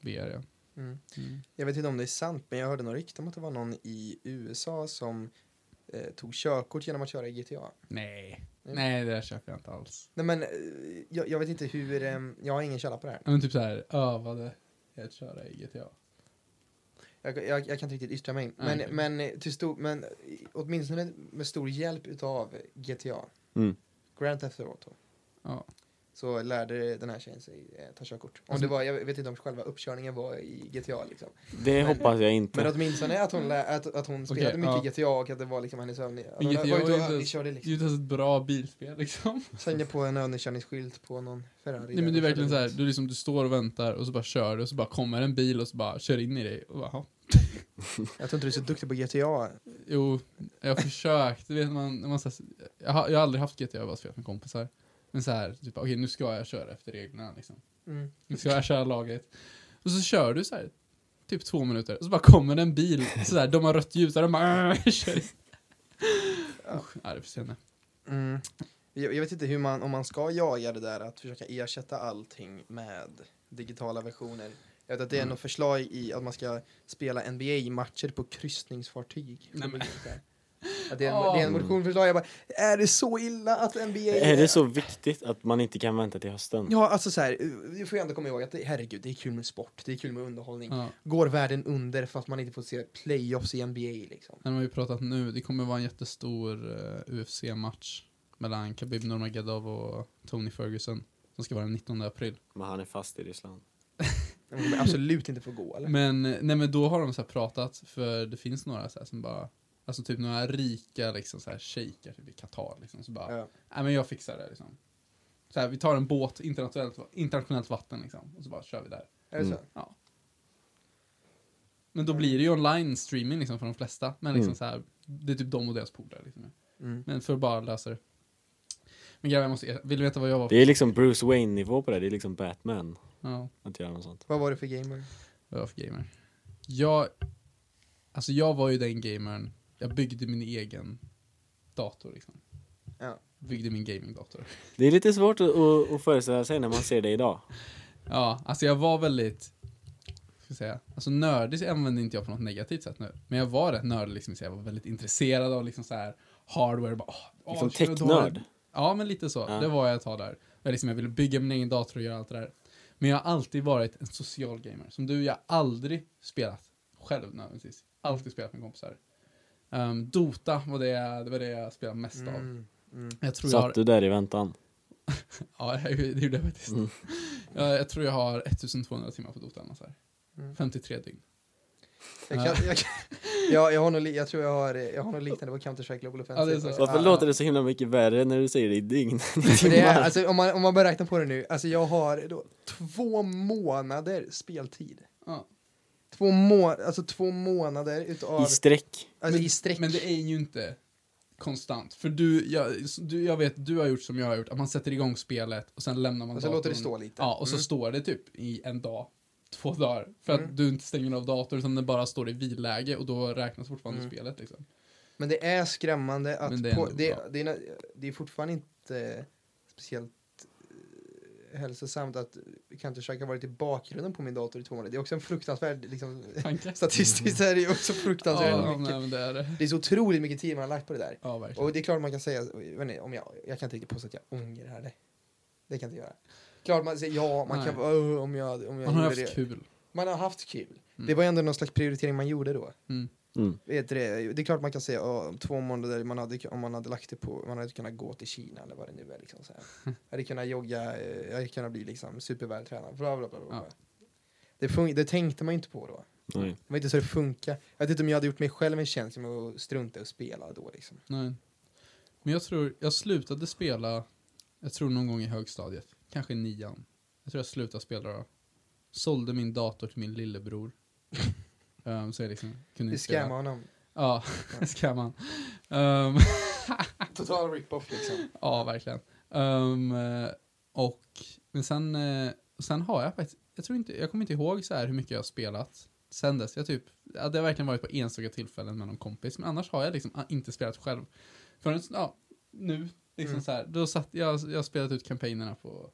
Speaker 2: VR, ja.
Speaker 1: Mm.
Speaker 2: Mm.
Speaker 1: Jag vet inte om det är sant, men jag hörde några rykten om att det var någon i USA som eh, eh, tog körkort genom att köra i GTA.
Speaker 2: Nej. Nej, det där köper jag inte alls.
Speaker 1: Nej men, eh, jag, jag vet inte hur, eh, jag har ingen källa på det här.
Speaker 2: Ja, Men typ så här övade i att köra i GTA.
Speaker 1: Jag, jag, jag kan inte riktigt yttra mig.
Speaker 2: Nej,
Speaker 1: Men,
Speaker 2: okej.
Speaker 1: men, eh, till stor, men eh, åtminstone med stor hjälp utav GTA,
Speaker 3: Mm.
Speaker 1: Grand Theft Auto,
Speaker 2: Ja.
Speaker 1: så lärde den här tjejen sig eh, ta körkort. Om
Speaker 2: Alltså-
Speaker 1: det var, jag vet inte om själva uppkörningen var i GTA liksom.
Speaker 3: Det hoppas jag
Speaker 1: Men
Speaker 3: inte.
Speaker 1: åtminstone att hon, lä- att, att hon spelade
Speaker 2: Mm. Okej,
Speaker 1: mycket GTA och att det var liksom hennes övning. Att hon
Speaker 2: GTA
Speaker 1: var ute
Speaker 2: är
Speaker 1: och
Speaker 2: inte
Speaker 1: övning-
Speaker 2: ens-
Speaker 1: körde liksom.
Speaker 2: Det är ju inte ens ett bra bilspel liksom.
Speaker 1: Slängde på en övningskörningsskylt på någon Ferrari.
Speaker 2: Nej men det är
Speaker 1: där.
Speaker 2: verkligen så här, du liksom, du står och väntar och så bara kör du och så bara kommer en bil och så bara kör in i dig och bara, "Jaha."
Speaker 1: Jag tror inte du är så duktig på GTA.
Speaker 2: Jo, jag har försökt, du vet man, när man så här, jag, har, jag har aldrig haft GTA, jag har bara spelat med kompisar. Men så här, typ, okej nu ska jag köra efter reglerna liksom.
Speaker 1: Mm.
Speaker 2: Nu ska jag köra laget. Och så kör du så här, typ två minuter och så bara kommer en bil, så här, de har rött ljus och de bara "Åh", kör in. Usch, ja, det är för sent.
Speaker 1: Mm. Jag, jag vet inte hur man, om man ska jaga det där att försöka ersätta allting med digitala versioner. Jag vet att det är
Speaker 2: Mm.
Speaker 1: något förslag i att man ska spela NBA-matcher på kryssningsfartyg.
Speaker 2: Nej, men-
Speaker 1: Att det, är en, det är en
Speaker 3: Ah.
Speaker 1: motionförslag. Jag bara, är det så illa att NBA...
Speaker 3: Är det så viktigt att man inte kan vänta till hösten?
Speaker 1: Ja, alltså så här, du får ju ändå komma ihåg att det, herregud, det är kul med sport, det är kul med underhållning.
Speaker 2: Ja,
Speaker 1: Går världen under för att man inte får se playoffs i NBA liksom?
Speaker 2: den har vi pratat nu, det kommer vara en jättestor eh, UFC-match mellan Khabib Nurmagomedov och Tony Ferguson som ska vara den 19 april.
Speaker 3: Men han är fast i Ryssland.
Speaker 1: De kommer absolut inte få gå eller?
Speaker 2: Men, eh, nej, men då har de så här pratat, för det finns några så här som bara, alltså typ några rika liksom så här shejker typ i Qatar liksom, så bara,
Speaker 1: Ja.
Speaker 2: nej men jag fixar det liksom. Så här, vi tar en båt, internationellt, internationellt vatten liksom, och så bara kör vi där.
Speaker 1: Är det så?
Speaker 3: Mm.
Speaker 2: Ja. Men då blir det ju online streaming liksom för de flesta, men liksom
Speaker 3: Mm.
Speaker 2: så här, det är typ de och deras polare liksom.
Speaker 1: Mm.
Speaker 2: Men för att bara lösa det. Men grabbar, jag måste, er- vill du veta vad jag var?
Speaker 3: Det är liksom Bruce Wayne-nivå på det, det är liksom Batman.
Speaker 2: Ja,
Speaker 3: Att göra något sånt.
Speaker 1: Vad var det för gamer?
Speaker 2: vad jag var för gamer. Jag, alltså jag var ju den gamern, jag byggde min egen dator liksom.
Speaker 1: Ja.
Speaker 2: Byggde min gamingdator.
Speaker 3: Det är lite svårt att, att, att föreställa sig när man ser det idag.
Speaker 2: Ja, alltså jag var väldigt, ska jag säga, alltså nördig använde inte jag på något negativt sätt nu. Men jag var rätt nördig liksom, så jag var väldigt intresserad av liksom så här hardware. Bara, åh, åh,
Speaker 3: Liksom
Speaker 2: shit, vad
Speaker 3: technörd.
Speaker 2: dåligt. Ja, men lite så.
Speaker 3: Ja.
Speaker 2: Det var jag ett tag där. Jag, liksom, jag ville bygga min egen dator och göra allt det där. Men jag har alltid varit en social gamer. Som du, jag har aldrig spelat själv nödvändigtvis. Alltid spelat med kompisar. Ehm, Dota var det, jag- det var det jag spelade mest av.
Speaker 1: Mm. Mm.
Speaker 2: Jag tror jag har
Speaker 3: Satt du där i väntan?
Speaker 2: Ja, det gjorde jag faktiskt.
Speaker 3: Mm.
Speaker 2: Jag, jag tror jag har 1200 timmar på Dota annars här.
Speaker 1: Mm.
Speaker 2: 53 dygn.
Speaker 1: Jag, kan, jag, kan, jag, jag, har nog, li- jag tror jag har, eh, jag har något liknande på Counter-Strike Global Offensive.
Speaker 2: Ja, det är så.
Speaker 3: Varför låter det så himla mycket värre när du säger det i dygn?
Speaker 1: För det är, alltså, om, man, om man börjar räkna på det nu, alltså jag har då två månader speltid.
Speaker 2: Ja.
Speaker 1: Två, må, alltså två månader utav,
Speaker 3: I sträck.
Speaker 1: alltså,
Speaker 2: men-
Speaker 1: i sträck.
Speaker 2: Men det är ju inte konstant. För du jag, du, jag vet, du har gjort som jag har gjort, att man sätter igång spelet och sen lämnar man
Speaker 1: och så låter det stå lite.
Speaker 2: Ja, och så
Speaker 1: Mm.
Speaker 2: står det typ i en dag, två dagar. För att
Speaker 1: Mm.
Speaker 2: du inte stänger av datorn, utan den bara står i villäge och då räknas fortfarande
Speaker 1: Mm.
Speaker 2: spelet liksom.
Speaker 1: Men det är skrämmande att
Speaker 2: Men
Speaker 1: det
Speaker 2: det är
Speaker 1: är, på,
Speaker 2: ändå
Speaker 1: det,
Speaker 2: bra.
Speaker 1: det, är, na- det är fortfarande inte speciellt eh, hälsosamt att Counter-Strike har varit i bakgrunden på min dator i två månader. Det är också en fruktansvärd, liksom,
Speaker 2: Tanke?
Speaker 1: statistiskt är det ju också fruktansvärt
Speaker 2: Mhm. ja,
Speaker 1: mycket.
Speaker 2: nej, men det är det.
Speaker 1: Det är så otroligt mycket tid man har lagt på det där.
Speaker 2: Ja, verkligen.
Speaker 1: Och det är klart man kan säga, jag, vet inte, om jag, jag kan inte riktigt påstå att jag ångrar det. Det kan jag inte göra. Klart man säger ja, man kan
Speaker 2: Nej.
Speaker 1: "Åh, om jag, om jag
Speaker 2: Man har
Speaker 1: gjorde
Speaker 2: haft
Speaker 1: det.
Speaker 2: kul.
Speaker 1: Man har haft kul.
Speaker 2: Mm.
Speaker 1: Det var ändå någon slags prioritering man gjorde då.
Speaker 2: Mm.
Speaker 3: Mm.
Speaker 1: Vet du det, det är klart man kan säga "Ja, om två månader man hade, om man hade lagt det på, man hade kunnat gå till Kina eller vad det nu är. Liksom, så här. Jag hade kunnat jogga, eh, jag hade kunnat bli liksom, supervältränad. Bla, bla, bla, bla.
Speaker 2: Ja.
Speaker 1: Det, fun- det tänkte man ju inte på då.
Speaker 3: Nej.
Speaker 1: Det var inte så det funkar. Jag vet inte om jag hade gjort mig själv en tjänst med att strunta och spela då. Liksom.
Speaker 2: Nej. Men jag tror, jag slutade spela, jag tror någon gång i högstadiet, kanske i nian. Jag tror jag slutade spela då. Sålde min dator till min lillebror. um, så jag liksom kunde
Speaker 1: Det
Speaker 2: inte spela.
Speaker 1: scammar honom.
Speaker 2: Ja, skamman. Um,
Speaker 1: Total rip-off liksom.
Speaker 2: ja, verkligen. Um, eh, och, men sen, eh, sen har jag faktiskt, jag tror inte, jag kommer inte ihåg så här hur mycket jag har spelat sen dess. Jag typ, ja, det har verkligen varit på enstaka tillfällen med någon kompis, men annars har jag liksom ah, inte spelat själv. Förrän, ja, nu, liksom
Speaker 1: Mm.
Speaker 2: så här, då satt jag, jag har spelat ut kampanjerna på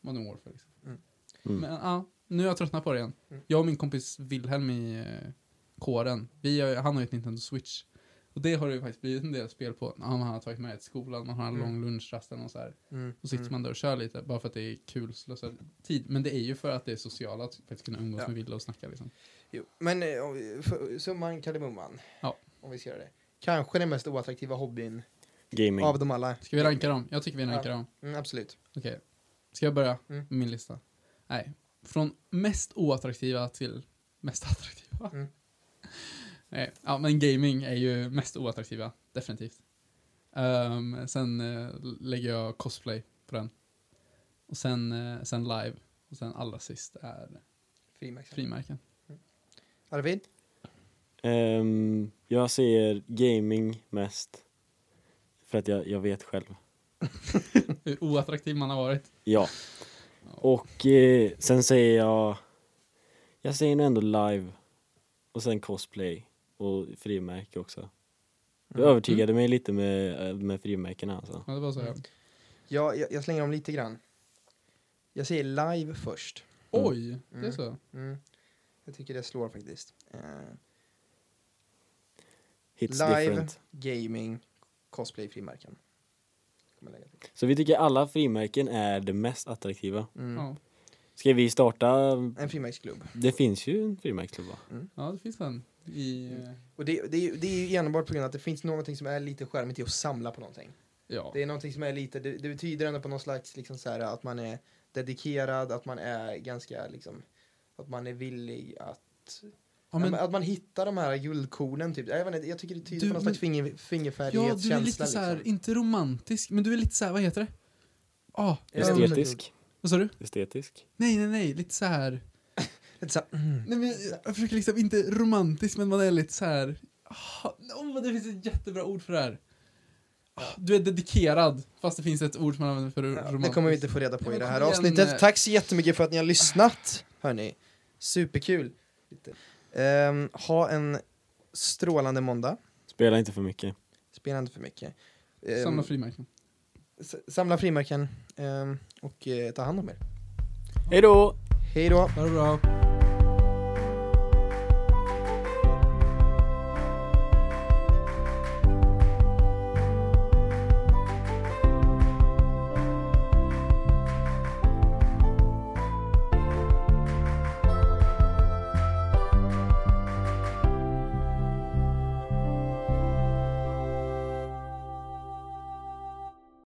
Speaker 2: Modern Warfare liksom.
Speaker 1: Mm.
Speaker 3: Mm.
Speaker 2: Men ja, nu har jag tröttnat på det igen.
Speaker 1: Mm.
Speaker 2: Jag och min kompis Wilhelm i eh, kåren, vi har, ju- han har ju ett Nintendo Switch. Och det har det ju faktiskt blivit en del spel på. Ja, man har tagit med det till skolan, man har en
Speaker 1: Mm.
Speaker 2: lång lunchrast eller något så här.
Speaker 1: Mm.
Speaker 2: Och sitter man där och kör lite bara för att det är kul, slösar tid. Men det är ju för att det är sociala, att faktiskt kunna umgås
Speaker 1: Ja.
Speaker 2: med Wille och snacka liksom.
Speaker 1: Jo, men eh, om vi- för- summan kardemumman.
Speaker 2: Ja.
Speaker 1: Om vi ska göra det. Kanske den mest oattraktiva hobbyn
Speaker 3: Gaming.
Speaker 1: av dem alla.
Speaker 2: Ska vi ranka dem? Jag tycker vi rankar dem.
Speaker 1: Mm, absolut.
Speaker 2: Okej. Ska jag börja
Speaker 1: Mm.
Speaker 2: med min lista? Nej. Från mest oattraktiva till mest attraktiva.
Speaker 1: Mm.
Speaker 2: Nej. Ja, men gaming är ju mest oattraktiva. Definitivt. Ehm, sen eh, lägger jag cosplay på den. Och sen, eh, sen live. Och sen allra sist är
Speaker 1: Frimärken.
Speaker 2: frimärken.
Speaker 1: Arvid?
Speaker 3: Ehm, jag ser gaming mest. För att jag, jag vet själv.
Speaker 2: Hur oattraktiv man har varit.
Speaker 3: Ja. Och eh, sen säger jag... Jag säger nog ändå live. Och sen cosplay. Och frimärke också. Du
Speaker 1: Mm.
Speaker 3: övertygade mig lite med, eh, med frimärkena alltså.
Speaker 2: Ja, det var så jag.
Speaker 1: Ja, jag, jag slänger om lite grann. Jag säger live först.
Speaker 2: Oj, det är
Speaker 1: Mm.
Speaker 2: så.
Speaker 1: Mm. Jag tycker det slår faktiskt. Eh,
Speaker 3: Hits
Speaker 1: Live.
Speaker 3: different.
Speaker 1: gaming, cosplay, frimärken. Kommer lägga till.
Speaker 3: Så vi tycker alla frimärken är det mest attraktiva.
Speaker 1: Mm.
Speaker 2: Ja.
Speaker 3: Ska vi starta?
Speaker 1: En frimärksklubb.
Speaker 3: Det finns ju en frimärksklubb va?
Speaker 2: ja, det finns en. I,
Speaker 1: Mm.
Speaker 2: eh,
Speaker 1: Och det, det, är ju- det är ju enbart på grund av att det finns någonting som är lite charmigt i att samla på någonting.
Speaker 2: ja.
Speaker 1: Det är någonting som är lite, det, det betyder ändå på någon slags liksom så här att man är dedikerad, att man är ganska liksom, att man är villig att
Speaker 2: ja, men
Speaker 1: att man hittar de här guldkornen typ. Jag, vet inte, jag tycker det tyder
Speaker 2: Du-
Speaker 1: på någon slags finger,
Speaker 2: Ja, du
Speaker 1: fingerfärdighetskänsla.
Speaker 2: är lite så här,
Speaker 1: liksom.
Speaker 2: inte romantisk, men du är lite så här, vad heter det? Ah,
Speaker 1: Ja, men-
Speaker 3: Estetisk.
Speaker 2: vad sa du?
Speaker 3: Estetisk.
Speaker 2: Nej, nej, nej, lite så här.
Speaker 1: Mm. Lite så här, mm.
Speaker 2: Nej, men jag, jag försöker liksom, inte romantisk, men man är lite så här. Ah, oh, det finns ett jättebra ord för det här. Ah, du är dedikerad, fast det finns ett ord som man använder för
Speaker 1: Ja,
Speaker 2: Mm, romantisk.
Speaker 1: det kommer vi inte få reda
Speaker 2: Ja,
Speaker 1: på i
Speaker 2: men
Speaker 1: det
Speaker 2: kom
Speaker 1: här
Speaker 2: igen, eh.
Speaker 1: avsnittet. Tack så jättemycket för att ni har lyssnat, hörni. Superkul. Ehm, ha en strålande måndag.
Speaker 3: Spela inte för mycket.
Speaker 1: Spela inte för mycket. Ehm,
Speaker 2: Samla frimärken.
Speaker 1: s- samla frimärken ehm, och eh, ta hand om er.
Speaker 3: Hej då!
Speaker 1: Hej då!
Speaker 2: Ha det bra.